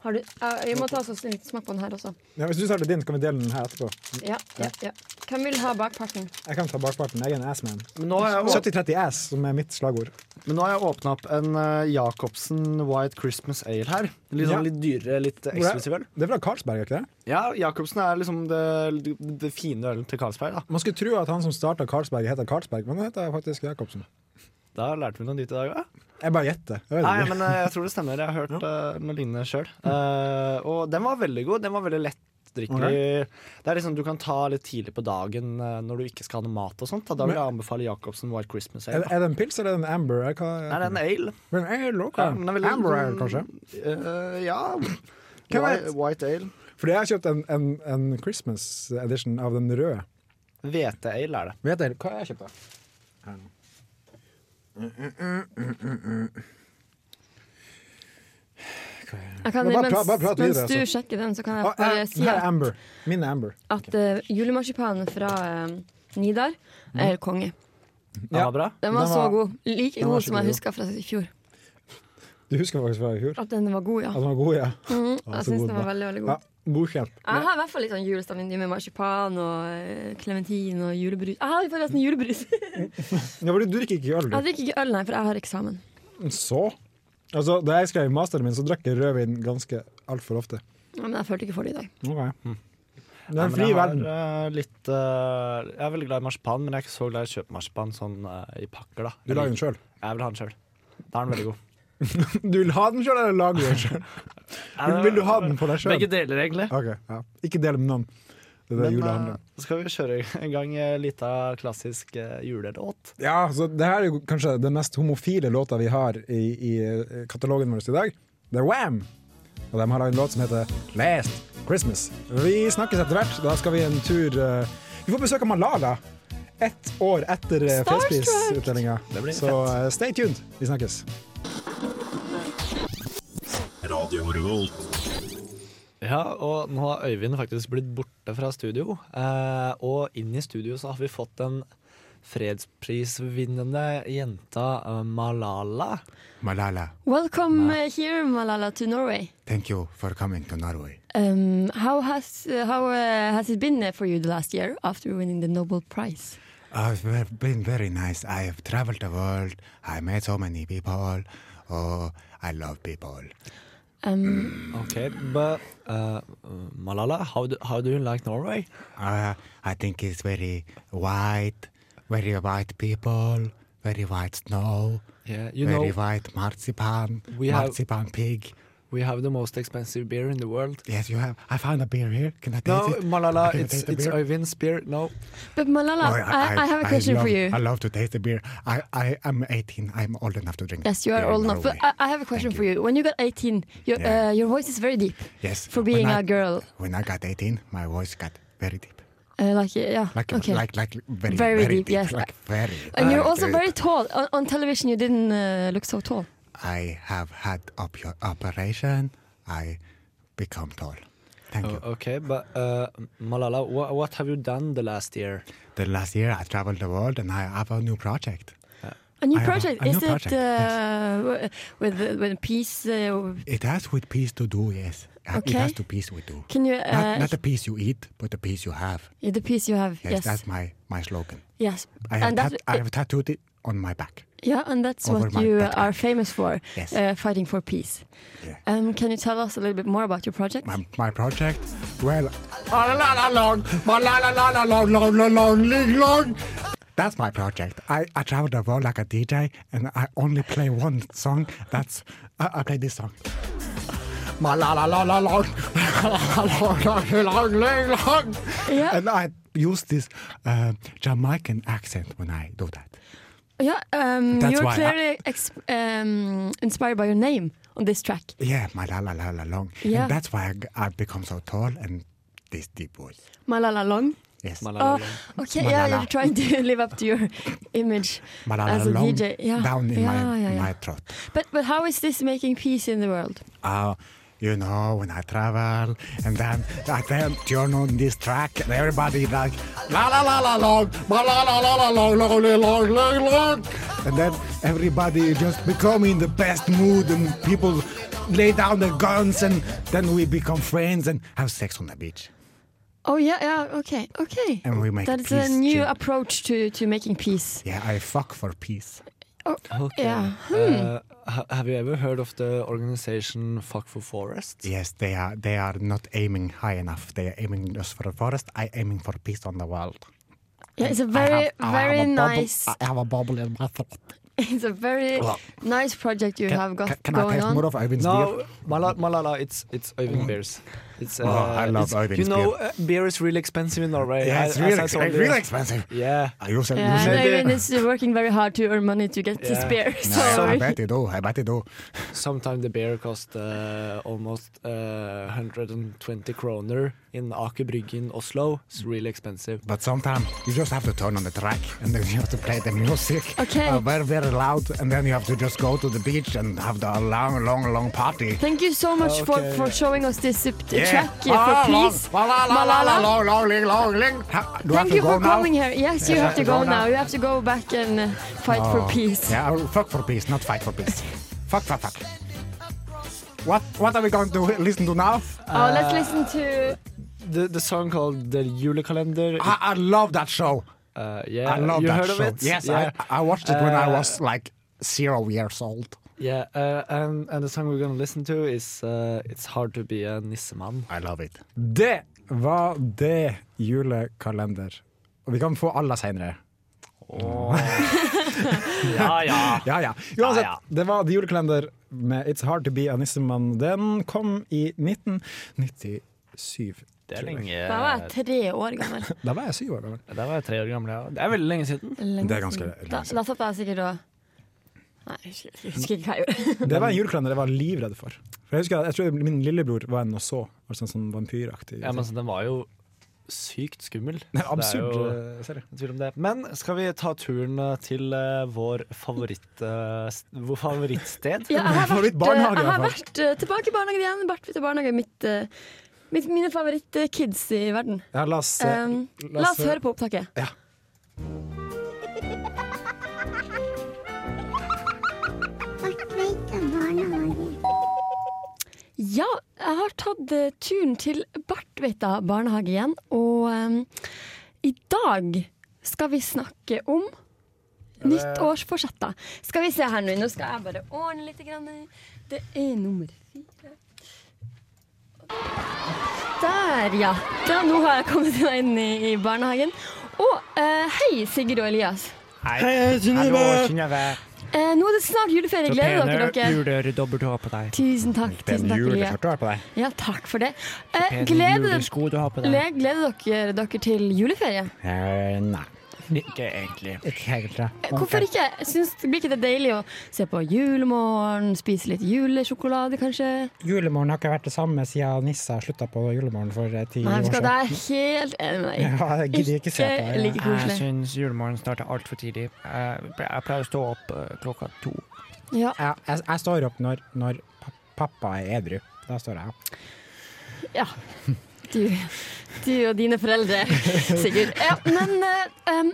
[SPEAKER 3] Har du, jeg, jeg må ta så litt smak på den her også.
[SPEAKER 2] Ja, hvis du tar det din, så kan vi dele den her etterpå.
[SPEAKER 3] Ja, ja, ja. Hvem vil ha bakparten?
[SPEAKER 2] Jeg kan ta bakparten. Jeg er en assman.
[SPEAKER 4] Men nå har jeg
[SPEAKER 2] 70-30 ass, som er mitt slagord.
[SPEAKER 4] Men nå har jeg åpna opp en eh, Jacobsen White Christmas Ale her. Litt,
[SPEAKER 2] Ja.
[SPEAKER 4] sånn, litt dyrere, litt eh,
[SPEAKER 2] Hvor er-
[SPEAKER 4] eksklusiv øl.
[SPEAKER 2] Det er fra Carlsberg, er ikke det?
[SPEAKER 4] Ja, Jacobsen er liksom det, det fine ølen til Carlsberg. Da.
[SPEAKER 2] Man skulle tro at han som starta Carlsberg, heter Carlsberg, men han heter faktisk Jacobsen.
[SPEAKER 4] da lærte vi noe nytt i dag òg.
[SPEAKER 2] Jeg bare gjetter. Jeg vet
[SPEAKER 4] Nei,
[SPEAKER 2] ikke.
[SPEAKER 4] men eh, jeg tror det stemmer. Jeg har hørt eh, noe lignende sjøl. og den var veldig god. Den var veldig lettdrikkelig. Det er liksom Du kan ta litt tidlig på dagen eh, når du ikke skal ha noe mat og sånt. Da, da vil jeg anbefale Jacobsen White Christmas
[SPEAKER 2] Er,
[SPEAKER 4] Ale. da.
[SPEAKER 2] er det en pils eller en amber? Er hva,
[SPEAKER 4] Nei, det er en ale.
[SPEAKER 2] Men ale, ok.
[SPEAKER 4] Ja, den er veldig-
[SPEAKER 2] Amber ale, kanskje?
[SPEAKER 4] Eh, ja.
[SPEAKER 2] Hvem
[SPEAKER 4] White,
[SPEAKER 2] vet?
[SPEAKER 4] white ale.
[SPEAKER 2] Fordi jeg har kjøpt en, en, en Christmas edition av den røde.
[SPEAKER 4] Hvete-ale er det.
[SPEAKER 2] Vet dere hva jeg kjøpte? Her nå.
[SPEAKER 3] Jeg kan,
[SPEAKER 2] Men bare
[SPEAKER 3] mens,
[SPEAKER 2] pra- bare prat
[SPEAKER 3] mens
[SPEAKER 2] videre,
[SPEAKER 3] du
[SPEAKER 2] altså.
[SPEAKER 3] sjekker den, så kan jeg
[SPEAKER 2] Ah,
[SPEAKER 3] bare
[SPEAKER 2] eh,
[SPEAKER 3] si
[SPEAKER 2] her er
[SPEAKER 3] at,
[SPEAKER 2] Amber. Min er Amber.
[SPEAKER 3] at eh, julemarsipanen fra eh, Nidar er helt konge.
[SPEAKER 4] Den
[SPEAKER 2] Ja.
[SPEAKER 4] var bra.
[SPEAKER 3] Den
[SPEAKER 2] Mm.
[SPEAKER 3] var,
[SPEAKER 2] Den
[SPEAKER 3] så
[SPEAKER 2] var-
[SPEAKER 3] god. Like
[SPEAKER 2] den var
[SPEAKER 3] god
[SPEAKER 2] så
[SPEAKER 3] som jeg
[SPEAKER 2] god.
[SPEAKER 3] huska fra i fjor.
[SPEAKER 2] Du husker faktisk fra i fjor?
[SPEAKER 3] At den var god, ja.
[SPEAKER 2] At den var god, ja.
[SPEAKER 3] Mm,
[SPEAKER 2] Ja,
[SPEAKER 3] jeg
[SPEAKER 2] så
[SPEAKER 3] syns
[SPEAKER 2] god
[SPEAKER 3] den var
[SPEAKER 2] den
[SPEAKER 3] veldig, veldig god.
[SPEAKER 2] ja Godkjent.
[SPEAKER 3] Jeg har i hvert fall litt sånn julestemning med marsipan og klementin og julebrus. Jeg har forresten julebrus. jeg
[SPEAKER 2] Ja, fordi du drikker ikke øl, du.
[SPEAKER 3] drikker ikke øl, nei, for jeg har eksamen.
[SPEAKER 2] Så? Altså, da jeg skrev masteren min, så drakk jeg rødvin ganske altfor ofte.
[SPEAKER 3] Ja, Men jeg følte ikke for det i dag.
[SPEAKER 2] Ok. Det er
[SPEAKER 4] Nei,
[SPEAKER 2] en
[SPEAKER 4] Mm. men
[SPEAKER 2] fri
[SPEAKER 4] jeg har,
[SPEAKER 2] verden.
[SPEAKER 4] eh, litt, eh, jeg er veldig glad i marsipan, men jeg er ikke så glad i å kjøpe marsipan sånn eh, i pakker. da
[SPEAKER 2] Du lager den sjøl.
[SPEAKER 4] Jeg vil ha den sjøl. Da er den veldig god.
[SPEAKER 2] Du vil ha den sjøl, eller lager du den sjøl? Vil du ha den på deg sjøl?
[SPEAKER 4] Begge Eh, deler, egentlig.
[SPEAKER 2] Ok, ja. Ikke del med noen. Det er det
[SPEAKER 4] Men
[SPEAKER 2] jula handler
[SPEAKER 4] eh,
[SPEAKER 2] om.
[SPEAKER 4] skal vi kjøre en gang eh, lita klassisk eh, julelåt?
[SPEAKER 2] Ja, så det her er jo kanskje den mest homofile låta vi har i, i eh, katalogen vår i dag. Det er Wham! Og de har laget en låt som heter Last Christmas. Vi snakkes etter hvert. Da skal vi en tur eh, Vi får besøk av Malala. Ett år etter eh,
[SPEAKER 3] Starstruck!
[SPEAKER 2] fredsprisutdelinga.
[SPEAKER 4] Det blir
[SPEAKER 2] Så eh, stay tuned. Vi snakkes.
[SPEAKER 4] Ja, og nå har Øyvind faktisk blitt borte fra studio. Eh, og inn i studio så har vi fått den fredsprisvinnende jenta eh, Malala.
[SPEAKER 5] Malala,
[SPEAKER 3] Welcome uh, here, Malala, to Norway.
[SPEAKER 5] thank you for coming to Norway.
[SPEAKER 3] Um, how has uh, how uh, has it been uh, for you the last year after winning the Nobel Prize?
[SPEAKER 5] Uh, it's ve- been very nice. I have traveled the world. I met so many people. Oh, I love people.
[SPEAKER 3] Um,
[SPEAKER 4] Okay, but uh, Malala, how do, how do you like Norway?
[SPEAKER 5] Uh, I think it's very white, very white people, very white snow,
[SPEAKER 4] Yeah, you
[SPEAKER 5] very
[SPEAKER 4] know
[SPEAKER 5] white marzipan,
[SPEAKER 4] We have-
[SPEAKER 5] marzipan pig.
[SPEAKER 4] we have the most expensive beer in the world.
[SPEAKER 5] Yes, you have. I found a beer here. Can I taste
[SPEAKER 4] No,
[SPEAKER 5] it?
[SPEAKER 4] Malala,
[SPEAKER 5] Can I
[SPEAKER 4] it's
[SPEAKER 5] taste the
[SPEAKER 4] it's
[SPEAKER 5] beer?
[SPEAKER 4] Øyvind's beer. No,
[SPEAKER 3] but Malala,
[SPEAKER 5] Oh,
[SPEAKER 3] I, I, have a question
[SPEAKER 5] love,
[SPEAKER 3] for you.
[SPEAKER 5] I love to taste the beer. I, I am 18. I'm old enough to drink.
[SPEAKER 3] yes, you are
[SPEAKER 5] beer in
[SPEAKER 3] old enough, but
[SPEAKER 5] Norway.
[SPEAKER 3] I, I have a question
[SPEAKER 5] Thank
[SPEAKER 3] for you. When you got 18, your
[SPEAKER 5] Yeah.
[SPEAKER 3] uh, your voice is very deep
[SPEAKER 5] Yes.
[SPEAKER 3] for
[SPEAKER 5] when
[SPEAKER 3] being
[SPEAKER 5] I-
[SPEAKER 3] a girl.
[SPEAKER 5] When I got 18, my voice got very deep.
[SPEAKER 3] Uh, like yeah,
[SPEAKER 5] Like,
[SPEAKER 3] okay.
[SPEAKER 5] like, uh, like very,
[SPEAKER 3] Very
[SPEAKER 5] very,
[SPEAKER 3] deep,
[SPEAKER 5] deep.
[SPEAKER 3] yes.
[SPEAKER 5] Like very.
[SPEAKER 3] and you're
[SPEAKER 5] very
[SPEAKER 3] also
[SPEAKER 5] deep.
[SPEAKER 3] very tall. On, on television, you didn't uh, look so tall.
[SPEAKER 5] I have had op- operation. I become tall. Thank you.
[SPEAKER 4] Oh, okay, but uh, Malala, wha what have you done the last year?
[SPEAKER 5] The last year I traveled the world and I have a new project.
[SPEAKER 3] A new
[SPEAKER 5] I have a-
[SPEAKER 3] project
[SPEAKER 5] a
[SPEAKER 3] is
[SPEAKER 5] new
[SPEAKER 3] it
[SPEAKER 5] project,
[SPEAKER 3] uh,
[SPEAKER 5] yes.
[SPEAKER 3] w- with with peace? Uh,
[SPEAKER 5] It has with peace to do, yes. Uh,
[SPEAKER 3] Okay.
[SPEAKER 5] It has to peace with do.
[SPEAKER 3] can you
[SPEAKER 5] not,
[SPEAKER 3] uh,
[SPEAKER 5] not the peace you eat, but the peace you have.
[SPEAKER 3] the peace you have?
[SPEAKER 5] Yes,
[SPEAKER 3] Yes, yes.
[SPEAKER 5] that's my, my slogan. I have,
[SPEAKER 3] And
[SPEAKER 5] tat-
[SPEAKER 3] that,
[SPEAKER 5] I have tattooed it on my back.
[SPEAKER 3] Yeah, and that's
[SPEAKER 5] Over
[SPEAKER 3] what
[SPEAKER 5] my
[SPEAKER 3] you
[SPEAKER 5] backpack.
[SPEAKER 3] are famous for,
[SPEAKER 5] Yes.
[SPEAKER 3] uh, fighting for peace.
[SPEAKER 5] Yeah.
[SPEAKER 3] Um, can you tell us a little bit more about your project?
[SPEAKER 5] my, my project. Well, la la la long, la la la la long, long, long, long, long, long. That's my project. I, I travel the world like a DJ, and I only play one song. That's I, I play this song. Ma la la la la long, la la la long, long, long, long.
[SPEAKER 3] Yeah.
[SPEAKER 5] And I use this uh, Jamaican accent when I do that.
[SPEAKER 3] yeah, um,
[SPEAKER 5] That's
[SPEAKER 3] you're
[SPEAKER 5] why I-
[SPEAKER 3] clearly ex- um, inspired by your name on this track.
[SPEAKER 5] Yeah, ma la la la la long.
[SPEAKER 3] Yeah.
[SPEAKER 5] And that's why I g- I've become so tall and this deep voice.
[SPEAKER 3] Malala Long.
[SPEAKER 5] Yes.
[SPEAKER 3] Oh,
[SPEAKER 4] Malala,
[SPEAKER 3] okay, yeah,
[SPEAKER 5] Malala.
[SPEAKER 3] you're trying to live up to your image as a
[SPEAKER 5] Malala
[SPEAKER 3] DJ. Yeah,
[SPEAKER 5] down in
[SPEAKER 3] yeah,
[SPEAKER 5] my,
[SPEAKER 3] yeah, yeah.
[SPEAKER 5] my throat.
[SPEAKER 3] But but how is this making peace in the world?
[SPEAKER 5] Uh, you know, when I travel, and then I then turn on this track, and everybody like la la la la long, la la la la la long, long, long, long, long, long, and then everybody just become in the best mood, and people lay down their guns, and then we become friends and have sex on the beach,
[SPEAKER 3] Oh yeah, yeah, okay, okay.
[SPEAKER 5] and we make
[SPEAKER 3] That is
[SPEAKER 5] peace.
[SPEAKER 3] a new
[SPEAKER 5] too.
[SPEAKER 3] approach to, to making peace.
[SPEAKER 5] yeah, I fuck for peace.
[SPEAKER 3] Oh,
[SPEAKER 4] Okay.
[SPEAKER 3] yeah.
[SPEAKER 4] Uh, ha- have you ever heard of the organization Fuck for Forest?
[SPEAKER 5] Yes, they are. They are not aiming high enough. They are aiming just for the forest. I aiming for peace on the world.
[SPEAKER 3] Yeah, it's a
[SPEAKER 5] I
[SPEAKER 3] very,
[SPEAKER 5] have- I
[SPEAKER 3] very
[SPEAKER 5] have a bubble-
[SPEAKER 3] nice.
[SPEAKER 5] I have a bubble in my throat.
[SPEAKER 3] It's a very
[SPEAKER 5] Well,
[SPEAKER 3] nice project you have got
[SPEAKER 5] Can, can I
[SPEAKER 3] going
[SPEAKER 5] taste
[SPEAKER 3] on.
[SPEAKER 5] more of Ivan's
[SPEAKER 4] No,
[SPEAKER 5] beer? Oh,
[SPEAKER 4] Malala, Malala it's it's Øyvind beers. It's, uh,
[SPEAKER 5] I
[SPEAKER 4] it's-
[SPEAKER 5] love
[SPEAKER 4] You
[SPEAKER 5] Øyvind's
[SPEAKER 4] know,
[SPEAKER 5] beer.
[SPEAKER 4] uh, beer is really expensive in Norway.
[SPEAKER 5] Yeah,
[SPEAKER 4] I-
[SPEAKER 5] it's
[SPEAKER 4] as
[SPEAKER 5] really,
[SPEAKER 4] I
[SPEAKER 5] ex-
[SPEAKER 4] told
[SPEAKER 5] it's
[SPEAKER 4] you.
[SPEAKER 5] really expensive.
[SPEAKER 4] Yeah.
[SPEAKER 5] I use it.
[SPEAKER 3] yeah,
[SPEAKER 5] use it.
[SPEAKER 3] and
[SPEAKER 4] Maybe-
[SPEAKER 3] Øyvind is working very hard to earn money to get this
[SPEAKER 4] Yeah.
[SPEAKER 3] beer.
[SPEAKER 5] Yeah, I
[SPEAKER 3] So
[SPEAKER 5] bet you do. I bet you do.
[SPEAKER 4] Sometimes the beer costs uh, almost uh, 120 kroner in Aker Brygge in Oslo. It's really expensive.
[SPEAKER 5] But sometimes you just have to turn on the track and then you have to play the music.
[SPEAKER 3] Okay.
[SPEAKER 5] Uh, very, very loud. And then you have to just go to the beach and have the long, long, long party.
[SPEAKER 3] thank you so much for,
[SPEAKER 4] Okay.
[SPEAKER 3] for showing us this uh,
[SPEAKER 5] Yeah.
[SPEAKER 3] track uh,
[SPEAKER 5] Ah,
[SPEAKER 3] for
[SPEAKER 5] long,
[SPEAKER 3] peace.
[SPEAKER 5] la, la, la, la, la,
[SPEAKER 3] Malala.
[SPEAKER 5] long, long, ling, long, ling. Ha- Do I have
[SPEAKER 3] Thank
[SPEAKER 5] to
[SPEAKER 3] you
[SPEAKER 5] go
[SPEAKER 3] for
[SPEAKER 5] now?
[SPEAKER 3] coming here. Yes, you
[SPEAKER 5] I
[SPEAKER 3] have to go now. You have to go back and uh, fight for
[SPEAKER 5] Oh.
[SPEAKER 3] peace.
[SPEAKER 5] Yeah, I will fuck for peace, not fight for peace. fuck, fuck, fuck. What, what are we going to listen to now?
[SPEAKER 3] Oh, let's listen
[SPEAKER 5] Uh,
[SPEAKER 3] to.
[SPEAKER 4] The, the song called The Julekalender.
[SPEAKER 5] I, I love that show.
[SPEAKER 4] Uh, yeah,
[SPEAKER 5] Ah, I love
[SPEAKER 4] you
[SPEAKER 5] that
[SPEAKER 4] heard
[SPEAKER 5] show.
[SPEAKER 4] of it?
[SPEAKER 5] Yes,
[SPEAKER 4] yeah.
[SPEAKER 5] I, I watched it when I
[SPEAKER 4] Uh,
[SPEAKER 5] was like zero years old.
[SPEAKER 4] Yeah, uh, and, and the song we're gonna listen to is uh, It's Hard to Be a Nissemann.
[SPEAKER 5] I love it.
[SPEAKER 2] Det var det julekalender. Og vi kan få alle seinere.
[SPEAKER 4] Ja, ja.
[SPEAKER 2] Ja, ja. Uansett,
[SPEAKER 4] Ja,
[SPEAKER 2] det var The Julekalender med It's Hard To Be a Nissemann. Den kom i 1997.
[SPEAKER 4] Det er lenge.
[SPEAKER 3] Da var jeg tre år gammel.
[SPEAKER 2] Da var jeg syv år gammel.
[SPEAKER 4] Der var jeg tre år gammel, ja. Det er veldig lenge siden.
[SPEAKER 3] Lenge
[SPEAKER 5] Det er ganske
[SPEAKER 3] siden.
[SPEAKER 5] lenge
[SPEAKER 3] Da,
[SPEAKER 5] siden.
[SPEAKER 3] da satt jeg sikkert og Nei, jeg husker- jeg husker ikke hva jeg gjorde.
[SPEAKER 2] Det var en julekalender jeg var livredd for. For Jeg husker at, jeg tror min lillebror var en og så, altså en sånn vampyraktig
[SPEAKER 4] Ja, men altså, Den var jo sykt skummel.
[SPEAKER 2] Det er Absurd
[SPEAKER 4] Det er jo-
[SPEAKER 2] eh, serie.
[SPEAKER 4] Ingen Tvil om det. Men skal vi ta turen eh, til eh, vår favoritt, eh, st- vår favorittsted?
[SPEAKER 3] Ja, jeg har vært,
[SPEAKER 2] Favorittbarnehage,
[SPEAKER 3] jeg har
[SPEAKER 2] i hvert
[SPEAKER 3] vært eh, tilbake i barnehagen igjen. Bart til barnehage, mitt, eh, mitt, mine favorittkids i verden.
[SPEAKER 2] Ja, la oss, eh,
[SPEAKER 3] Um, la oss høre på opptaket. Ja, jeg har tatt eh, turen til Bartveita barnehage igjen, og em, i dag skal vi snakke om nyttårsforsetter. Skal vi se her nå, nå skal jeg bare ordne litt. Grann. Det er nummer fire. Der, ja. Da, nå har jeg kommet meg inn i, i barnehagen. Og eh, hei, Sigurd og Elias. Eh, nå er det snart juleferie. Gleder dere dere?
[SPEAKER 6] juledobbelthå på deg.
[SPEAKER 3] Tusen takk. Tusen takk, Elias.
[SPEAKER 2] juleskjorte du har på deg.
[SPEAKER 3] Ja, takk for det. Eh, gleder,
[SPEAKER 6] julesko du har på deg.
[SPEAKER 3] le- gleder dere dere til juleferie?
[SPEAKER 4] Eh,
[SPEAKER 6] nei. Ikke egentlig. Ikke egentlig.
[SPEAKER 3] Eh, Hvorfor ikke? Jeg Syns, blir ikke det deilig å se på julemorgen, spise litt julesjokolade kanskje?
[SPEAKER 6] Julemorgen har ikke vært det samme siden Nissa slutta på julemorgen for eh, ti
[SPEAKER 3] Nei,
[SPEAKER 6] år
[SPEAKER 3] vet du hva, det
[SPEAKER 6] siden.
[SPEAKER 3] er helt enig med deg.
[SPEAKER 6] Ja, jeg gidder ikke se på
[SPEAKER 3] Ikke
[SPEAKER 6] det.
[SPEAKER 3] like koselig.
[SPEAKER 6] syns julemorgen starter altfor tidlig. Jeg pleier å stå opp
[SPEAKER 7] eh,
[SPEAKER 6] klokka to.
[SPEAKER 3] Ja,
[SPEAKER 6] Jeg, jeg, jeg står opp når, når pa- pappa er edru. Da står jeg opp.
[SPEAKER 3] ja. Du, du og dine foreldre, Sigurd. Ja, men eh, em,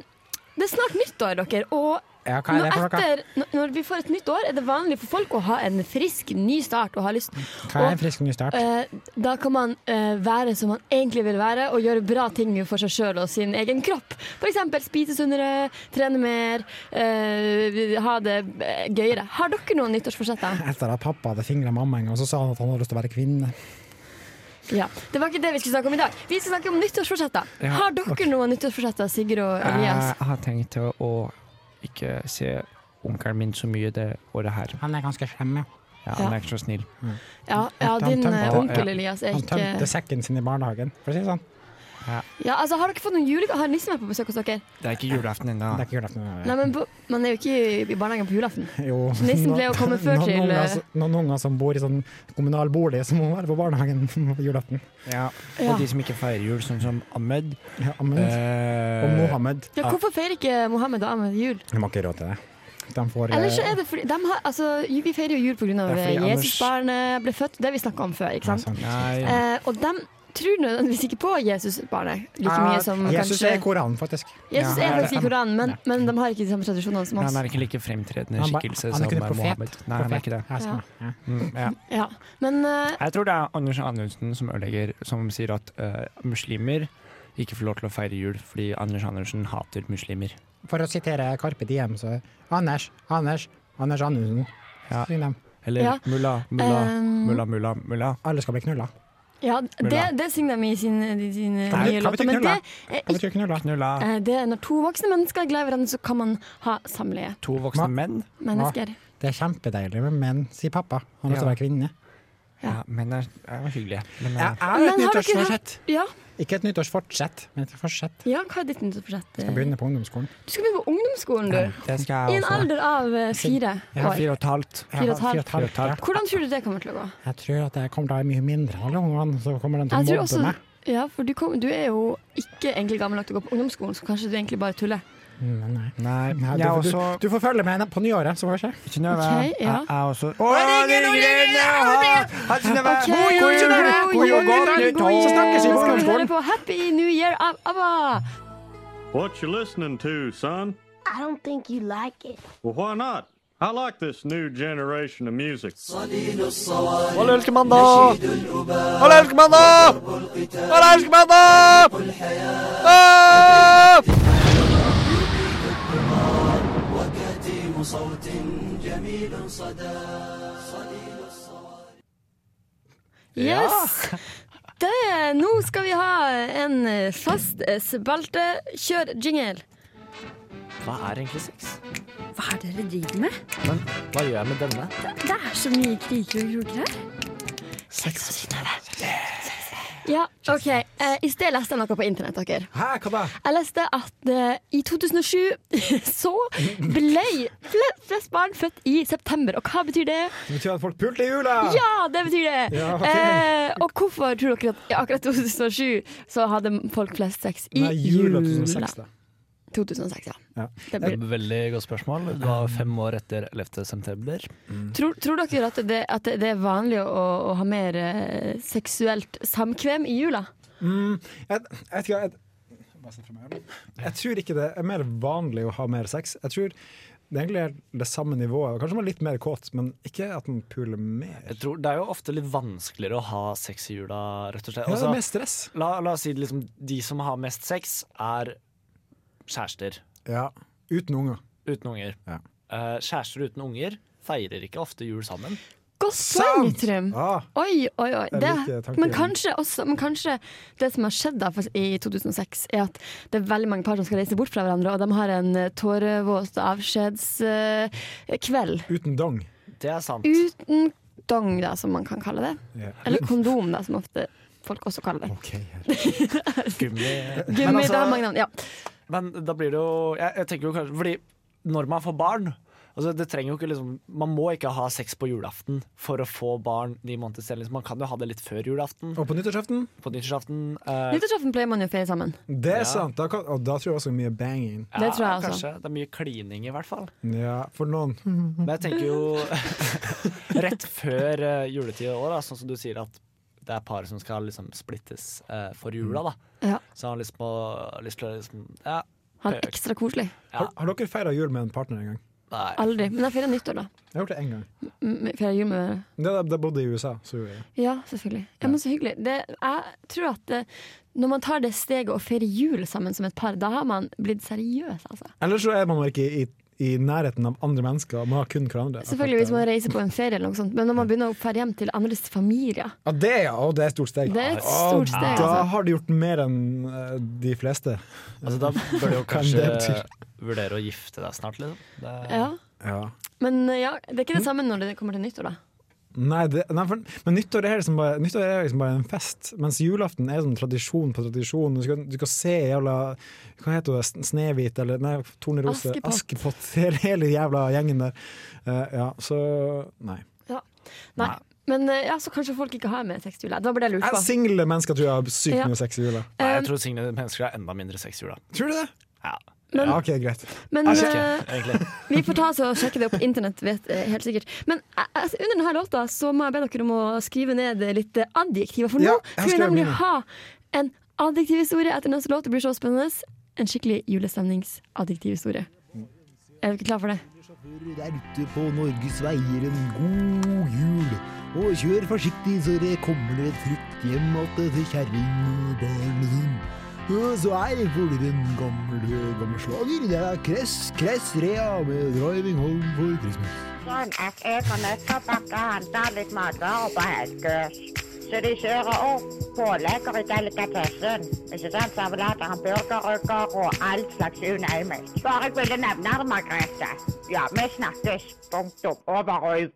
[SPEAKER 3] det er snart nyttår, dere. Og
[SPEAKER 6] Ja, hva er
[SPEAKER 3] når,
[SPEAKER 6] det for noe?
[SPEAKER 3] etter, når- når vi får et nytt år, er det vanlig for folk å ha en frisk, ny start og ha lyst
[SPEAKER 6] Hva er en frisk ny start?
[SPEAKER 3] Eh, da kan man eh, være som man egentlig vil være, og gjøre bra ting for seg sjøl og sin egen kropp. F.eks. spise sunnere, trene mer, eh, ha det eh, gøyere. Har dere noen nyttårsforsetter?
[SPEAKER 6] Etter at pappa hadde fingret mamma en gang, så sa han at han hadde lyst til å være kvinne.
[SPEAKER 3] Ja. Det var ikke det vi skulle snakke om i dag. Vi skal snakke om nyttårsforsetter. Har dere noen nyttårsforsetter, Sigurd og
[SPEAKER 7] Eh,
[SPEAKER 3] Elias?
[SPEAKER 7] Jeg har tenkt til å ikke se onkelen min så mye det året her.
[SPEAKER 6] Han er ganske slem, ja.
[SPEAKER 7] Ja, han
[SPEAKER 3] Ja.
[SPEAKER 7] er ikke så snill.
[SPEAKER 3] Ja, ja
[SPEAKER 6] han
[SPEAKER 3] din
[SPEAKER 6] tømte-
[SPEAKER 3] eh, onkel
[SPEAKER 7] ja.
[SPEAKER 3] Elias er
[SPEAKER 6] Han
[SPEAKER 3] ikke
[SPEAKER 6] tømte sekken sin i barnehagen, for å si det sånn.
[SPEAKER 3] ja, altså, Har dere fått noen julegaver? Har nissen vært på besøk hos dere?
[SPEAKER 7] Det er ikke julaften ennå.
[SPEAKER 6] Det er ikke julaften.
[SPEAKER 3] Nei, men på, Man er jo ikke i- i barnehagen på julaften.
[SPEAKER 6] Jo.
[SPEAKER 3] Nissen ble jo kommet før
[SPEAKER 6] noen
[SPEAKER 3] til- eh,
[SPEAKER 6] Unger, som- noen unger som bor i sånn kommunal bolig, som må være på barnehagen på julaften.
[SPEAKER 7] Ja.
[SPEAKER 3] Ja.
[SPEAKER 7] Og de som ikke feirer jul, sånn som Ahmed.
[SPEAKER 6] Ja, Ahmed
[SPEAKER 7] eh,
[SPEAKER 6] og Mm. Mohammed.
[SPEAKER 3] Ja, Hvorfor feirer ikke Mohammed og Ahmed jul?
[SPEAKER 6] De har ikke råd til det. De får
[SPEAKER 3] Eller så
[SPEAKER 6] eh,
[SPEAKER 3] er det fordi de har, altså, Vi feirer jo jul pga.
[SPEAKER 7] Det er fordi
[SPEAKER 3] Jesusbarnet ble født, det har vi snakka om før. ikke
[SPEAKER 6] ja,
[SPEAKER 3] sant?
[SPEAKER 6] sant.
[SPEAKER 7] Nei.
[SPEAKER 3] Eh, og de tror nødvendigvis ikke på Jesusbarnet like mye som
[SPEAKER 6] Jesus
[SPEAKER 3] kanskje
[SPEAKER 6] er i Koranen, faktisk.
[SPEAKER 3] Jesus
[SPEAKER 7] Ja,
[SPEAKER 3] er faktisk i
[SPEAKER 6] han-
[SPEAKER 3] Koranen, men, men de har ikke de samme tradisjonene som
[SPEAKER 7] Men
[SPEAKER 3] oss.
[SPEAKER 7] han er ikke like fremtredende
[SPEAKER 6] Han ba-
[SPEAKER 7] skikkelse
[SPEAKER 6] han er
[SPEAKER 7] som
[SPEAKER 6] ikke en profet.
[SPEAKER 7] Mohammed. Nei, han er ikke det.
[SPEAKER 6] Ja, sånn, ja.
[SPEAKER 7] Mm, ja.
[SPEAKER 3] Ja. Men eh,
[SPEAKER 7] Jeg tror det er Anders Anundsen som ødelegger, som sier at eh, muslimer ikke får lov til å feire jul fordi Anders Andersen hater muslimer.
[SPEAKER 6] For å sitere Carpe Diem, så Anders, Anders, Anders Anundsen.
[SPEAKER 7] Ja.
[SPEAKER 6] Syng dem.
[SPEAKER 7] Eller
[SPEAKER 3] Ja.
[SPEAKER 7] mulla, mulla,
[SPEAKER 3] Ehm.
[SPEAKER 7] mulla, mulla, mulla.
[SPEAKER 6] Alle skal bli knulla.
[SPEAKER 3] ja, det, det synger de i sine, de sine
[SPEAKER 6] Kan vi- kan vi
[SPEAKER 3] nye låter.
[SPEAKER 6] ta
[SPEAKER 3] Men det
[SPEAKER 6] knulla?
[SPEAKER 3] er,
[SPEAKER 6] Hva
[SPEAKER 3] ikke,
[SPEAKER 6] betyr knulla?
[SPEAKER 7] Knulla
[SPEAKER 3] eh, det er når to voksne mennesker er glad i hverandre, så kan man ha samleie.
[SPEAKER 7] to voksne menn.
[SPEAKER 3] Mennesker.
[SPEAKER 6] Det er kjempedeilig med menn, sier pappa. Han har lyst til å
[SPEAKER 7] Ja.
[SPEAKER 6] være kvinne.
[SPEAKER 7] Ja, menn er, er hyggelige. Men,
[SPEAKER 6] Jeg
[SPEAKER 7] eh,
[SPEAKER 6] er et
[SPEAKER 3] Men har dere
[SPEAKER 6] nyttårsforsett.
[SPEAKER 3] Ja,
[SPEAKER 6] Ikke et nyttårsfortsett, men et forsett.
[SPEAKER 3] ja, hva er ditt nyttårsforsett?
[SPEAKER 6] Jeg begynner på ungdomsskolen.
[SPEAKER 3] Du skal begynne på ungdomsskolen, du.
[SPEAKER 7] det skal
[SPEAKER 3] I
[SPEAKER 7] jeg
[SPEAKER 3] en
[SPEAKER 7] også.
[SPEAKER 3] alder av eh, fire
[SPEAKER 7] Jeg har
[SPEAKER 3] år.
[SPEAKER 7] fire og et halvt.
[SPEAKER 6] Jeg har
[SPEAKER 3] Fire og et halvt.
[SPEAKER 6] fire og et halvt, ja.
[SPEAKER 3] Hvordan tror du det kommer til å gå?
[SPEAKER 6] Jeg tror at jeg kommer til å være mye mindre enn alle ungene, så kommer de til å
[SPEAKER 3] Jeg tror
[SPEAKER 6] mobbe
[SPEAKER 3] også-
[SPEAKER 6] meg.
[SPEAKER 3] Ja, for du, kom, du er jo ikke egentlig gammel nok til å gå på ungdomsskolen, så kanskje du egentlig bare tuller.
[SPEAKER 6] Mm, men nei.
[SPEAKER 7] Nei,
[SPEAKER 6] Nei,
[SPEAKER 7] jeg er
[SPEAKER 6] du,
[SPEAKER 7] også
[SPEAKER 6] du, du får følge med på nyåret, så får vi se.
[SPEAKER 7] Synnøve.
[SPEAKER 3] Ok, ja.
[SPEAKER 7] Jeg er også Å, det ringer! Ja, Hei, Synnøve!
[SPEAKER 3] Ok,
[SPEAKER 7] God jul, Synnøve! God jul, godt nytt
[SPEAKER 3] god
[SPEAKER 7] år!
[SPEAKER 3] jul.
[SPEAKER 7] Så snakkes i
[SPEAKER 3] Nå skal
[SPEAKER 7] morgen.
[SPEAKER 3] vi høre på Happy New Year av ABBA.
[SPEAKER 8] What you listening to, son?
[SPEAKER 9] I don't think you like it.
[SPEAKER 8] Well, why not? I like this new generation of music.
[SPEAKER 4] Alle elsker mandag! Alle elsker mandag! Alle elsker mandag! Ah!
[SPEAKER 3] Yes! Det, nå skal vi ha en eh, fast eh, spalte. Kjør jingle.
[SPEAKER 4] Hva er egentlig sex?
[SPEAKER 10] Hva er det dere driver med?
[SPEAKER 4] Men hva gjør jeg med denne?
[SPEAKER 10] Det er så mye kriker og kroker her.
[SPEAKER 3] Ja, ok. Eh, I sted leste jeg noe på internett. dere.
[SPEAKER 2] Hæ, hva da?
[SPEAKER 3] Jeg leste at eh, i 2007 så ble fle- flest barn født i september. Og hva betyr det?
[SPEAKER 2] Det betyr at folk pulte i jula!
[SPEAKER 3] Ja, det betyr det!
[SPEAKER 2] Ja, ok.
[SPEAKER 3] eh, og hvorfor tror dere at i akkurat 2007 så hadde folk flest sex i
[SPEAKER 2] Nei, jula 2006, da.
[SPEAKER 3] 2006, ja.
[SPEAKER 2] Ja.
[SPEAKER 3] Det
[SPEAKER 11] Et
[SPEAKER 3] blir.
[SPEAKER 11] veldig godt spørsmål. Det var fem år etter 11. september.
[SPEAKER 3] Tror, tror dere at det, at det er vanlig å, å ha mer eh, seksuelt samkvem i jula?
[SPEAKER 2] Mm, jeg, jeg vet ikke, jeg, jeg tror ikke det er mer vanlig å ha mer sex. Jeg tror det egentlig er det samme nivået. Kanskje man er litt mer kåt, men ikke at man puler mer.
[SPEAKER 4] Jeg tror Det er jo ofte litt vanskeligere å ha sex i jula, rett og slett.
[SPEAKER 2] Ja, det
[SPEAKER 4] Altså,
[SPEAKER 2] er mer stress.
[SPEAKER 4] la, la oss si det liksom, de som har mest sex, er kjærester
[SPEAKER 2] Ja, Uten unger.
[SPEAKER 4] uten unger.
[SPEAKER 2] Ja.
[SPEAKER 4] Eh, kjærester uten unger feirer ikke ofte jul sammen.
[SPEAKER 3] Godt poeng, Trym!
[SPEAKER 2] Ah,
[SPEAKER 3] Oi, oi, oi.
[SPEAKER 2] Jeg
[SPEAKER 3] Det,
[SPEAKER 2] liker tanken.
[SPEAKER 3] men, kanskje også, men kanskje det som har skjedd da, for- i 2006, er at det er veldig mange par som skal reise bort fra hverandre, og de har en eh, tårevåt avskjedskveld.
[SPEAKER 2] uten dong.
[SPEAKER 4] Det er sant.
[SPEAKER 3] Uten dong, da, som man kan kalle det.
[SPEAKER 2] Ja.
[SPEAKER 3] Eller kondom, da, som ofte folk også kaller det.
[SPEAKER 2] Ok, her.
[SPEAKER 4] Gummi.
[SPEAKER 3] Gummi,
[SPEAKER 4] Men altså-
[SPEAKER 3] det har mange navn. Ja.
[SPEAKER 4] Men da blir det jo jeg, jeg tenker jo kanskje Fordi når man får barn altså det trenger jo ikke liksom, Man må ikke ha sex på julaften for å få barn ni måneder senere. Liksom, man kan jo ha det litt før julaften.
[SPEAKER 2] Og på nyttårsaften,
[SPEAKER 4] På nyttårsaften. eh,
[SPEAKER 3] Nyttårsaften pleier man jo å feire sammen.
[SPEAKER 2] det er
[SPEAKER 4] Ja.
[SPEAKER 2] sant. Da kan, og da tror jeg også mye banging.
[SPEAKER 4] ja,
[SPEAKER 3] det tror jeg også.
[SPEAKER 4] Kanskje. Det er mye klining, i hvert fall.
[SPEAKER 2] Ja, for noen.
[SPEAKER 3] Mm.
[SPEAKER 4] Men jeg tenker jo rett før uh, juletid òg, sånn som du sier at det er par som skal liksom splittes eh, for jula, da.
[SPEAKER 3] Ja.
[SPEAKER 4] Så han liksom har lyst til å liksom Ja,
[SPEAKER 3] Ha det ekstra koselig.
[SPEAKER 2] Har, har dere feira jul med en partner en gang?
[SPEAKER 4] nei.
[SPEAKER 3] Aldri. Men jeg feirer nyttår, da.
[SPEAKER 2] Jeg har gjort det én gang.
[SPEAKER 3] Mm, Feirer jul med dere.
[SPEAKER 2] Det er da jeg bodde i USA. Så gjorde jeg. det.
[SPEAKER 3] Ja, selvfølgelig. Ja, men så hyggelig. Det, jeg tror at eh, når man tar det steget å feire jul sammen som et par, da har man blitt seriøs, altså.
[SPEAKER 2] Ellers så er man bare ikke i, i nærheten av andre mennesker. Man har kun hverandre.
[SPEAKER 3] Selvfølgelig hvis man reiser på en ferie eller noe sånt, men når man begynner å ferde hjem til andres familier
[SPEAKER 2] Ja, det, ja. Å, det er et stort steg.
[SPEAKER 3] Det er et stort
[SPEAKER 2] Å, Da
[SPEAKER 3] steg, altså.
[SPEAKER 2] har du gjort mer enn eh, de fleste.
[SPEAKER 4] Altså, da bør du jo
[SPEAKER 2] Kan
[SPEAKER 4] kanskje
[SPEAKER 2] det
[SPEAKER 4] vurdere å gifte deg snart, liksom. Det,
[SPEAKER 3] Ja.
[SPEAKER 2] Ja.
[SPEAKER 3] Men eh, ja, det er ikke det samme når det kommer til nyttår, da.
[SPEAKER 2] Nei, det, nei for, men nyttår er, liksom bare, nyttår er liksom bare en fest, mens julaften er sånn tradisjon på tradisjon. Du skal, du skal se jævla Hva heter det? Sn- Snehvit? Eller nei, Tornerose?
[SPEAKER 3] Askepott.
[SPEAKER 2] Askepott. Det er hele jævla gjengen der. Eh, ja, så Nei.
[SPEAKER 3] Nei. Men eh, ja, så kanskje folk ikke har med sex til jul. Det var bare det jeg lurte
[SPEAKER 2] Jeg
[SPEAKER 3] på.
[SPEAKER 2] Single mennesker tror jeg har sykt
[SPEAKER 3] Ja. Eh,
[SPEAKER 2] mye sex i jula.
[SPEAKER 4] Nei, jeg tror single mennesker har enda mindre sex i jula.
[SPEAKER 2] Tror du det?
[SPEAKER 4] Ja,
[SPEAKER 3] Men-
[SPEAKER 2] Ja, ok, greit.
[SPEAKER 3] Men
[SPEAKER 4] jeg sjekker,
[SPEAKER 3] eh,
[SPEAKER 4] egentlig.
[SPEAKER 3] vi får ta oss og sjekke det opp på internett, vet eh, helt sikkert. Men eh, altså, under denne låta så må jeg be dere om å skrive ned eh, litt eh, adjektiver, for
[SPEAKER 2] Ja, jeg har
[SPEAKER 3] nå skal vi
[SPEAKER 2] skrevet
[SPEAKER 3] nemlig
[SPEAKER 2] mine.
[SPEAKER 3] ha en adjektivhistorie etter neste låt. Det blir så spennende. En skikkelig julestemningsadjektivhistorie. Er dere klar for det?
[SPEAKER 5] Der ute på Norges veier en god jul. Og kjør forsiktig så det kommer et trygt hjem atte til kjerring og barnet ditt. Og så er fugler en gammel, gammel slager. Det er Kress, Kress Rea med 'Driving Home for Christmas'.
[SPEAKER 12] Sånn at jeg har nødt til å pakke og handle litt matvarer på Helgøs. Så de kjører opp pålegger i delikatessen. Ikke sant? Servelater, hamburgerrygger og alt slags unøymelt. Bare jeg ville nevne det, Margrethe. Ja, vi snakkes. Punktum. Over og ut.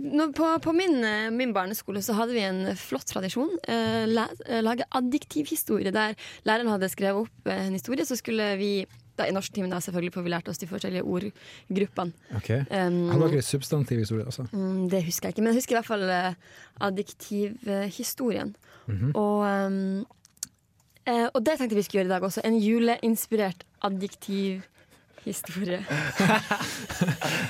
[SPEAKER 3] nå på på min, eh, min barneskole så hadde vi en flott tradisjon. Eh, la- eh, lage adjektivhistorie. Der læreren hadde skrevet opp eh, en historie, så skulle vi da, I norsktimen, da, selvfølgelig, for vi lærte oss de forskjellige ordgruppene. Um,
[SPEAKER 2] Har dere substantiv historie altså. også?
[SPEAKER 3] Mm, det husker jeg ikke, men jeg husker i hvert fall eh, adjektivhistorien.
[SPEAKER 2] Mhm.
[SPEAKER 3] og, ehm, eh, og det tenkte jeg vi skulle gjøre i dag også. En juleinspirert adjektivhistorie.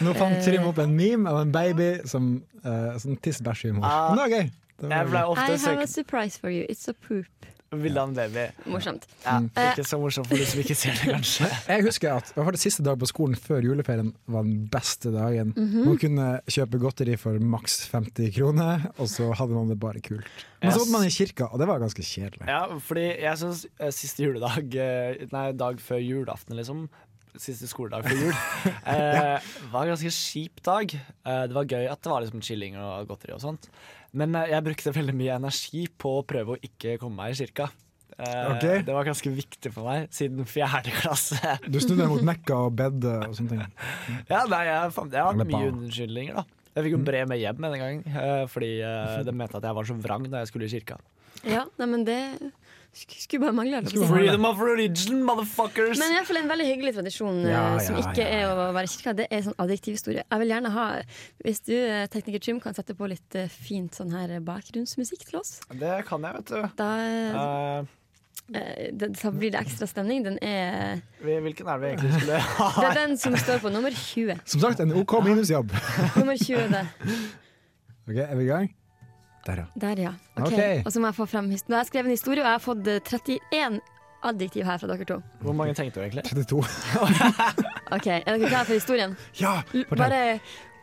[SPEAKER 2] Nå fant Trym opp
[SPEAKER 3] Eh.
[SPEAKER 2] en meme av en baby som
[SPEAKER 3] Ah.
[SPEAKER 2] uh, sånn tiss-bæsj-humor. Men det var gøy. Det var
[SPEAKER 4] Jeg ble
[SPEAKER 2] gøy.
[SPEAKER 4] ofte
[SPEAKER 3] I have a
[SPEAKER 4] søkt
[SPEAKER 3] surprise for you. It's a poop.
[SPEAKER 4] Ville han baby.
[SPEAKER 3] Morsomt.
[SPEAKER 4] Ja, ikke så morsomt for de som ikke ser det, kanskje.
[SPEAKER 2] Jeg husker at i hvert fall det siste dag på skolen før juleferien var den beste dagen.
[SPEAKER 3] Mhm.
[SPEAKER 2] Man kunne kjøpe godteri for maks 50 kroner, og så hadde man det bare kult. Men så
[SPEAKER 4] Yes.
[SPEAKER 2] måtte man i kirka, og det var ganske kjedelig.
[SPEAKER 4] Ja, fordi jeg syns siste juledag eh, Nei, dag før julaften, liksom. Siste skoledag før jul. eh, var en ganske kjip dag. Eh, det var gøy at det var liksom chilling og godteri og sånt. Men eh, jeg brukte veldig mye energi på å prøve å ikke komme meg i kirka. Eh,
[SPEAKER 2] Ok.
[SPEAKER 4] Det var ganske viktig for meg siden fjerde klasse.
[SPEAKER 2] Du snudde deg mot Mekka og bedde og sånne ting.
[SPEAKER 4] Ja, nei, jeg, fant- jeg hadde
[SPEAKER 2] Eller
[SPEAKER 4] mye
[SPEAKER 2] barn.
[SPEAKER 4] unnskyldninger, da. Jeg fikk jo brev med hjem en gang, eh, fordi eh, de mente at jeg var så vrang da jeg skulle i kirka.
[SPEAKER 3] Ja, nei, men det sk- skulle bare mangle. holdt jeg på å si.
[SPEAKER 4] Freedom of religion, motherfuckers!
[SPEAKER 3] Men i hvert fall en veldig hyggelig tradisjon eh,
[SPEAKER 4] Ja, ja,
[SPEAKER 3] som ikke
[SPEAKER 4] ja,
[SPEAKER 3] er å være i kirka. Det er sånn adjektiv historie. Jeg vil gjerne ha, Hvis du, eh, tekniker Jim, kan sette på litt eh, fint sånn her eh, bakgrunnsmusikk til oss.
[SPEAKER 4] Det kan jeg, vet du.
[SPEAKER 3] Da,
[SPEAKER 4] Eh,
[SPEAKER 3] eh, det, da blir det ekstra stemning. Den er
[SPEAKER 4] vi- hvilken er det vi egentlig skulle ha?
[SPEAKER 3] Det er den som står på nummer 20.
[SPEAKER 2] Som sagt, en OK minusjobb.
[SPEAKER 3] Nummer 20 det.
[SPEAKER 2] Ok, Er vi i gang? Der, ja.
[SPEAKER 3] Der, ja. Ok,
[SPEAKER 2] Ok.
[SPEAKER 3] Og så må jeg få frem historien. Jeg har skrevet en historie, og jeg har fått eh, 31 adjektiv her fra dere to.
[SPEAKER 4] Hvor mange tenkte du egentlig?
[SPEAKER 2] 32.
[SPEAKER 3] Ok, Er dere klare for historien?
[SPEAKER 2] Ja,
[SPEAKER 3] L-
[SPEAKER 2] fortell.
[SPEAKER 3] Bare,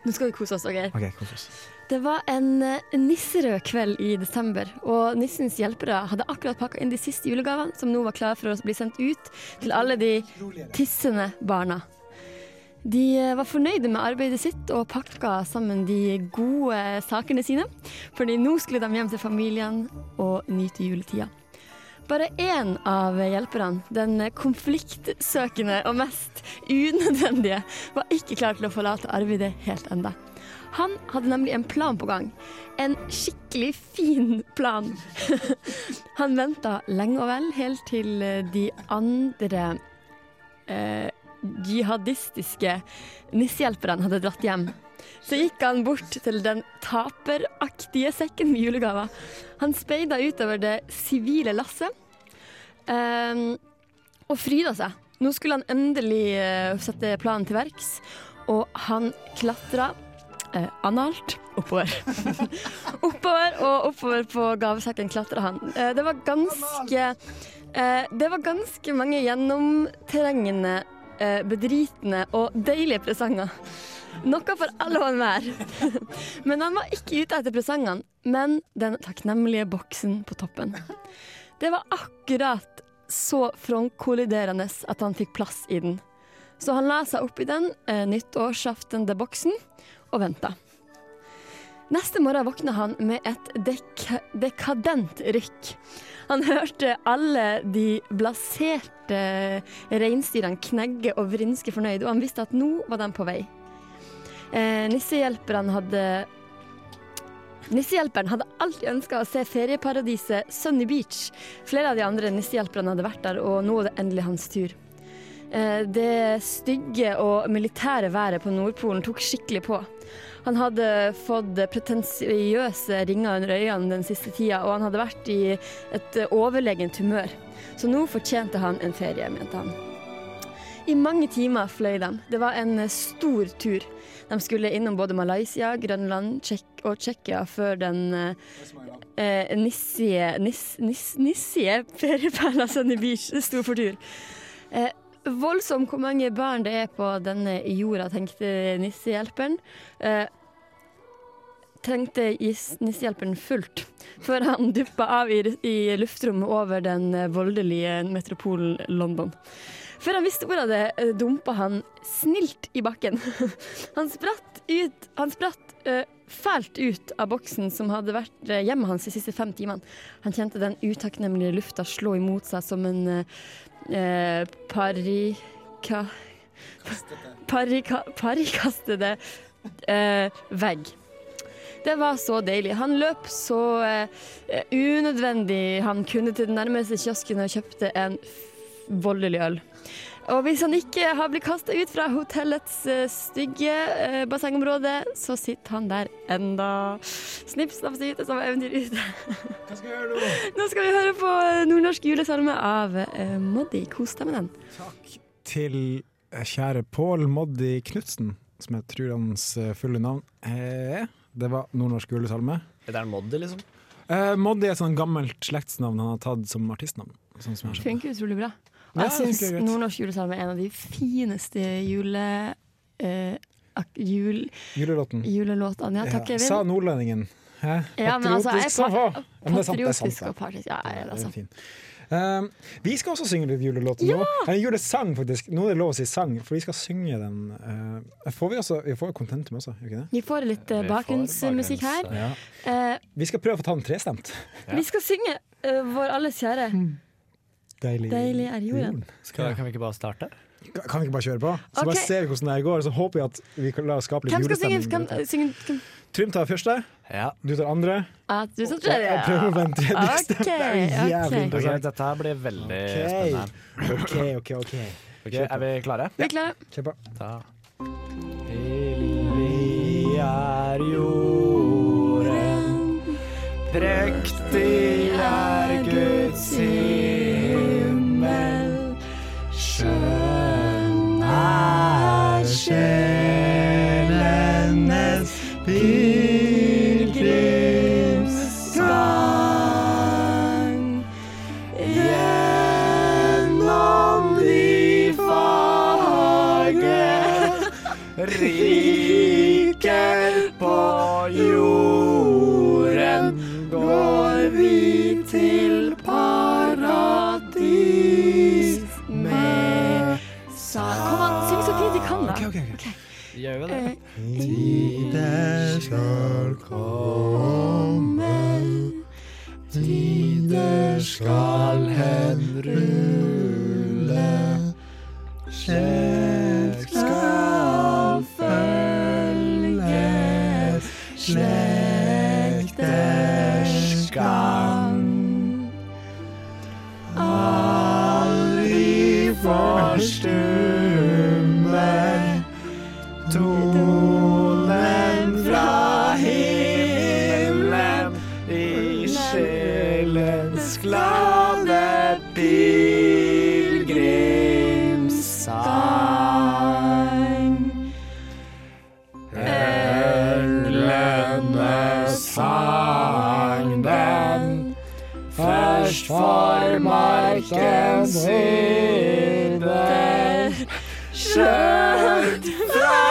[SPEAKER 3] Nå skal vi kose oss. ok?
[SPEAKER 2] Ok, kos oss.
[SPEAKER 3] Det var en eh, nisserød kveld i desember, og nissens hjelpere hadde akkurat pakka inn de siste julegavene, som nå var klare for å bli sendt ut til alle de tissende barna. De eh, var fornøyde med arbeidet sitt og pakka sammen de gode sakene sine, fordi nå skulle de hjem til familien og nyte juletida. Bare én av hjelperne, den konfliktsøkende og mest unødvendige, var ikke klar til å forlate arbeidet helt enda. Han hadde nemlig en plan på gang. En skikkelig fin plan. Han venta lenge og vel helt til eh, de andre eh, jihadistiske nissehjelperne hadde dratt hjem. Så gikk han bort til den taperaktige sekken med julegaver. Han speida utover det sivile lasset eh, og fryda seg. Nå skulle han endelig eh, sette planen til verks, og han klatra eh, analt oppover. oppover og oppover på gavesekken klatra han. Eh, det var ganske eh, Det var ganske mange gjennomtrengende, eh, bedritne og deilige presanger. Noe for alle og enhver. Men han var ikke ute etter presangene, men den takknemlige boksen på toppen. Det var akkurat så frontkolliderende at han fikk plass i den. Så han la seg oppi den eh, nyttårsaftende boksen og venta. Neste morgen våkna han med et dek dekadent rykk. Han hørte alle de blaserte reinsdyrene knegge og vrinske fornøyd, og han visste at nå var de på vei. Eh, nissehjelperne hadde Nissehjelperen hadde alltid ønska å se ferieparadiset Sunny Beach. Flere av de andre nissehjelperne hadde vært der, og nå var det endelig hans tur. Eh, Det stygge og militære været på Nordpolen tok skikkelig på. Han hadde fått pretensiøse ringer under øynene den siste tida, og han hadde vært i et overlegent humør. Så nå fortjente han en ferie, mente han. I mange timer fløy de. Det var en stor tur. De skulle innom både Malaysia, Grønland Tsjekk- og Tsjekkia før den eh, eh, nissige, niss, niss, nissige ferieperla Sunny Beach sto for tur. Eh, voldsomt hvor mange barn det er på denne jorda, tenkte nissehjelperen. Eh, trengte gis- nissehjelperen fullt før han duppa av i, i luftrommet over den eh, voldelige metropolen London. Før han visste ordet av det, eh, dumpa han snilt i bakken. Han spratt ut Han spratt eh, fælt ut av boksen som hadde vært eh, hjemmet hans de siste fem timene. Han kjente den utakknemlige lufta slå imot seg som en eh, eh, parika... Parika, parikastede eh, vegg. Det var så deilig. Han løp så eh, unødvendig han kunne til den nærmeste kiosken og kjøpte en f- voldelig øl. Og hvis han ikke har blitt kasta ut fra hotellets eh, stygge eh, bassengområde, så sitter han der enda. Snipp, snapp, syte, som eventyr ute.
[SPEAKER 2] Hva skal vi gjøre nå?
[SPEAKER 3] Nå skal vi høre på nordnorsk julesalme av eh, Moddi. Kos deg med den.
[SPEAKER 2] Til eh, kjære Pål Moddi Knutsen, som jeg tror hans eh, fulle navn er. Det var nordnorsk julesalme.
[SPEAKER 4] Det er en modder, liksom.
[SPEAKER 2] Eh, Moddi er et sånn gammelt slektsnavn han har tatt som artistnavn. Sånn som jeg har skjønt.
[SPEAKER 3] Funker utrolig bra. Og
[SPEAKER 2] Ja,
[SPEAKER 3] jeg syns
[SPEAKER 2] funker greit.
[SPEAKER 3] nordnorsk julesalme er en av de fineste jule... eh, ak- jul,
[SPEAKER 2] Julelåten.
[SPEAKER 3] julelåtene. Ja, takk, Evin.
[SPEAKER 2] Sa nordlendingen. Hæ?
[SPEAKER 3] Ja, men altså, jeg
[SPEAKER 2] Patriotisk som faen. Ja,
[SPEAKER 3] pa-
[SPEAKER 2] men det er sant, det er sant,
[SPEAKER 3] patriotisk
[SPEAKER 2] det.
[SPEAKER 3] og partisk. Ja, jeg er det,
[SPEAKER 2] Det er
[SPEAKER 3] altså.
[SPEAKER 2] fin. Um, vi skal også synge litt julelåter nå. Eller julesang, faktisk. Nå er det lov å si sang, for vi skal synge den. eh, får vi, også, vi får kontentum også, gjør vi ikke det?
[SPEAKER 3] Vi får litt eh,
[SPEAKER 2] Vi får
[SPEAKER 3] bakgrunnsmusikk her.
[SPEAKER 2] Ja.
[SPEAKER 3] Eh,
[SPEAKER 2] Vi skal prøve å få ta den trestemt.
[SPEAKER 3] Vi skal synge eh, vår alles kjære.
[SPEAKER 2] Mm. Deilig,
[SPEAKER 3] Deilig er
[SPEAKER 2] Mm.
[SPEAKER 3] jorden.
[SPEAKER 1] Skal, Kan vi ikke bare starte?
[SPEAKER 2] Kan kan vi ikke bare kjøre på? Så
[SPEAKER 3] Ok.
[SPEAKER 2] bare ser vi hvordan det her går, så håper vi at vi kan la oss skape litt
[SPEAKER 3] Hvem skal synge?
[SPEAKER 2] julestemning.
[SPEAKER 3] Hvem, synge hvem?
[SPEAKER 2] Trym tar første, du tar andre.
[SPEAKER 3] Ah, du som
[SPEAKER 2] Jeg,
[SPEAKER 3] tredje.
[SPEAKER 2] jeg prøver å vente til
[SPEAKER 3] Ok,
[SPEAKER 2] neste. Det er jo jævlig
[SPEAKER 3] ok.
[SPEAKER 2] interessant.
[SPEAKER 1] dette her blir veldig
[SPEAKER 2] Ok.
[SPEAKER 1] spennende.
[SPEAKER 2] OK, OK. ok
[SPEAKER 1] Ok, er vi klare?
[SPEAKER 3] Vi er klare.
[SPEAKER 2] Kjør på.
[SPEAKER 1] Da. Vi er jorden, prektig er Guds himmel. Skjønn er sjelenes pilegrimsgang. Gjennom de fagre riker på jorden går vi til paradis med
[SPEAKER 3] Kom an, syng så fint de kan, da.
[SPEAKER 1] Gjør vi
[SPEAKER 3] Eh,
[SPEAKER 1] Tider skal komme, tider skal henrulle. Slekt skal følge, slekters gang. Aldri forstummer tonen fra himmelen i sjelens glade pilegrimssang. Englene sang den først for markens yder. Skjønt fra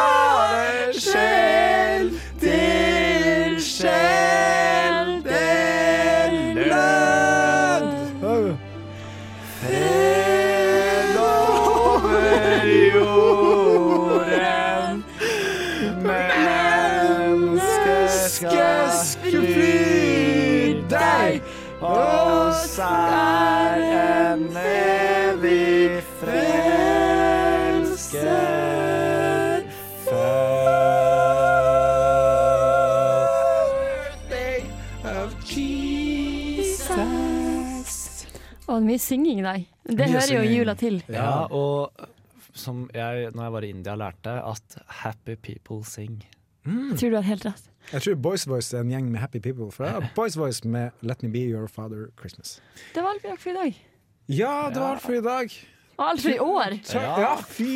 [SPEAKER 1] skjell til skjell det lød. Fred over jorden, menneskeskap fly deg. Oss er en evig frelser født. Day of Jesus.
[SPEAKER 3] Å, mye synging i dag. Det
[SPEAKER 1] Mye
[SPEAKER 3] hører jo
[SPEAKER 1] synging.
[SPEAKER 3] jula til.
[SPEAKER 1] Ja, og som jeg, når jeg var i India, lærte at happy people sing.
[SPEAKER 2] Mm.
[SPEAKER 3] Tror du har helt rett.
[SPEAKER 2] Jeg tror Boys Voice er en gjeng med happy people. For jeg har Boys Voice med Let Me Be Your Father Christmas.
[SPEAKER 3] Det var alt vi rakk for i dag.
[SPEAKER 2] Ja, det var alt for i dag.
[SPEAKER 3] Og alt for i år.
[SPEAKER 2] Ja, fy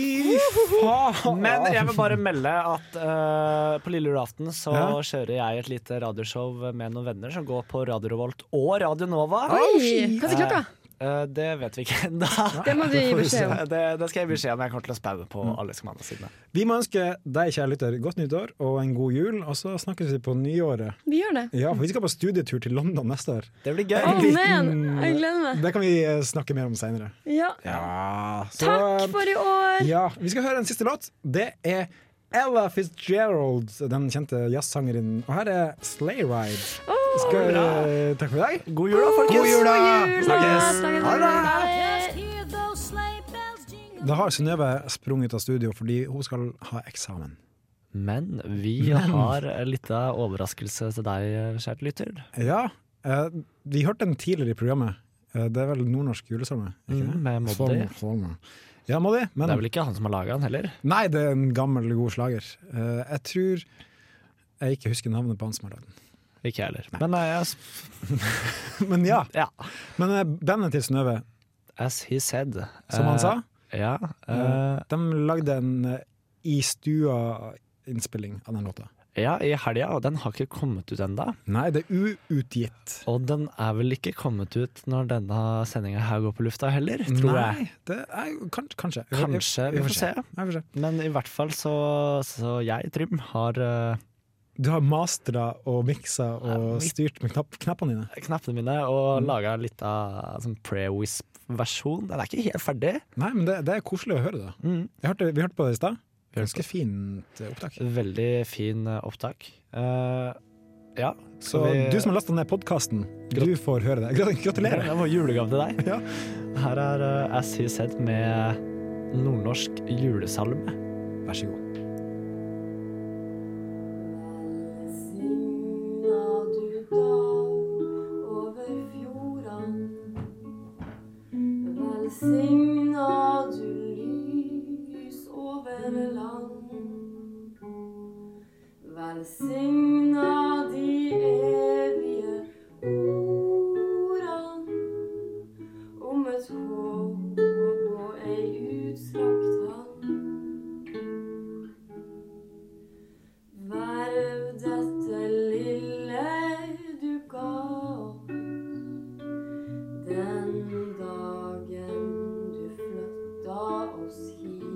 [SPEAKER 2] faen!
[SPEAKER 1] Men jeg vil bare melde at eh, på lille julaften så
[SPEAKER 2] Ja.
[SPEAKER 1] kjører jeg et lite radioshow med noen venner som går på Radio Revolt og Radio Nova.
[SPEAKER 3] Oi, hva er klokka?
[SPEAKER 1] Eh, eh, det vet vi ikke ennå.
[SPEAKER 3] Det må vi gi beskjed om.
[SPEAKER 1] Det, det skal jeg gi beskjed om. Jeg kommer til å spaue på
[SPEAKER 4] Mm.
[SPEAKER 1] alle som er sidene.
[SPEAKER 2] Vi må ønske deg, kjære lytter, godt nytt år og en god jul. Og så snakkes vi på nyåret.
[SPEAKER 3] Vi gjør det.
[SPEAKER 2] Ja, for vi skal på studietur til London neste år.
[SPEAKER 1] Det blir
[SPEAKER 3] Å, man. Jeg gleder meg.
[SPEAKER 2] Det kan vi eh, snakke mer om seinere.
[SPEAKER 3] Ja.
[SPEAKER 2] Ja, så-
[SPEAKER 3] Takk for i år.
[SPEAKER 2] Ja, vi skal høre en siste låt. Det er Ella Fitzgerald, den kjente jazzsangeren. Og her er Sleigh Ride. Skal, takk for i dag.
[SPEAKER 1] God jul, da, folkens.
[SPEAKER 2] God jul, da.
[SPEAKER 3] Snakkes.
[SPEAKER 2] Ha det bra.
[SPEAKER 13] det!
[SPEAKER 2] Da har Synnøve sprunget ut av studio fordi hun skal ha eksamen.
[SPEAKER 1] Men vi har en liten overraskelse til deg, kjære lytter.
[SPEAKER 2] Ja, eh, vi hørte den tidligere i programmet. Eh, det er vel nordnorsk julesalme? er
[SPEAKER 1] Mm,
[SPEAKER 2] ikke det?
[SPEAKER 1] med Moddi.
[SPEAKER 2] Salme, salme. Ja, Moddi. Men
[SPEAKER 1] Det er vel ikke han som har laga den heller?
[SPEAKER 2] Nei, det er en gammel, god slager. Eh, jeg tror jeg ikke husker navnet på han som har lagd den.
[SPEAKER 1] Ikke jeg heller. Men eh, jeg
[SPEAKER 2] Men ja.
[SPEAKER 1] Ja.
[SPEAKER 2] Men eh, bandet til Synnøve,
[SPEAKER 1] As he said.
[SPEAKER 2] som han
[SPEAKER 1] Eh,
[SPEAKER 2] sa,
[SPEAKER 1] Ja.
[SPEAKER 2] eh,
[SPEAKER 1] eh,
[SPEAKER 2] de lagde en eh, i stua-innspilling av den låta.
[SPEAKER 7] Ja, i helga, og den har ikke kommet ut enda
[SPEAKER 2] Nei, det er uutgitt.
[SPEAKER 7] Og den er vel ikke kommet ut når denne sendinga her går på lufta heller, tror
[SPEAKER 2] Nei,
[SPEAKER 7] jeg.
[SPEAKER 2] det er, kanskje, kanskje.
[SPEAKER 7] Kanskje, vi får se. Men i hvert fall så, så jeg, Trym, har eh,
[SPEAKER 2] Du har mastra og miksa og styrt med knapp, knappene dine.
[SPEAKER 7] knappene mine og laga litt av sånn pre-wisp-versjon. Den er ikke helt ferdig.
[SPEAKER 2] Nei, men det, det er koselig å høre, da. Jeg hørte, Mm. vi hørte på det i stad. Ganske fint eh, opptak.
[SPEAKER 7] Veldig fin eh, opptak. Eh, ja,
[SPEAKER 2] Så du som har lasta ned podkasten, du får høre det. Gra- Gratulerer!
[SPEAKER 7] Det var julegave til deg. Her er eh, As He Said med nordnorsk julesalme.
[SPEAKER 2] Vær så god.
[SPEAKER 3] Velsigna du lys over land. Velsigna de evige ordan om et håp og ei utstrakt hand. Verv dette lille du ga oss den dagen du flytta oss hit.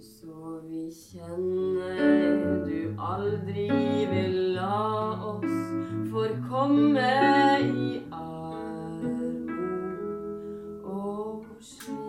[SPEAKER 3] Så vi kjenner du aldri vil la oss forkomme i armod og slit.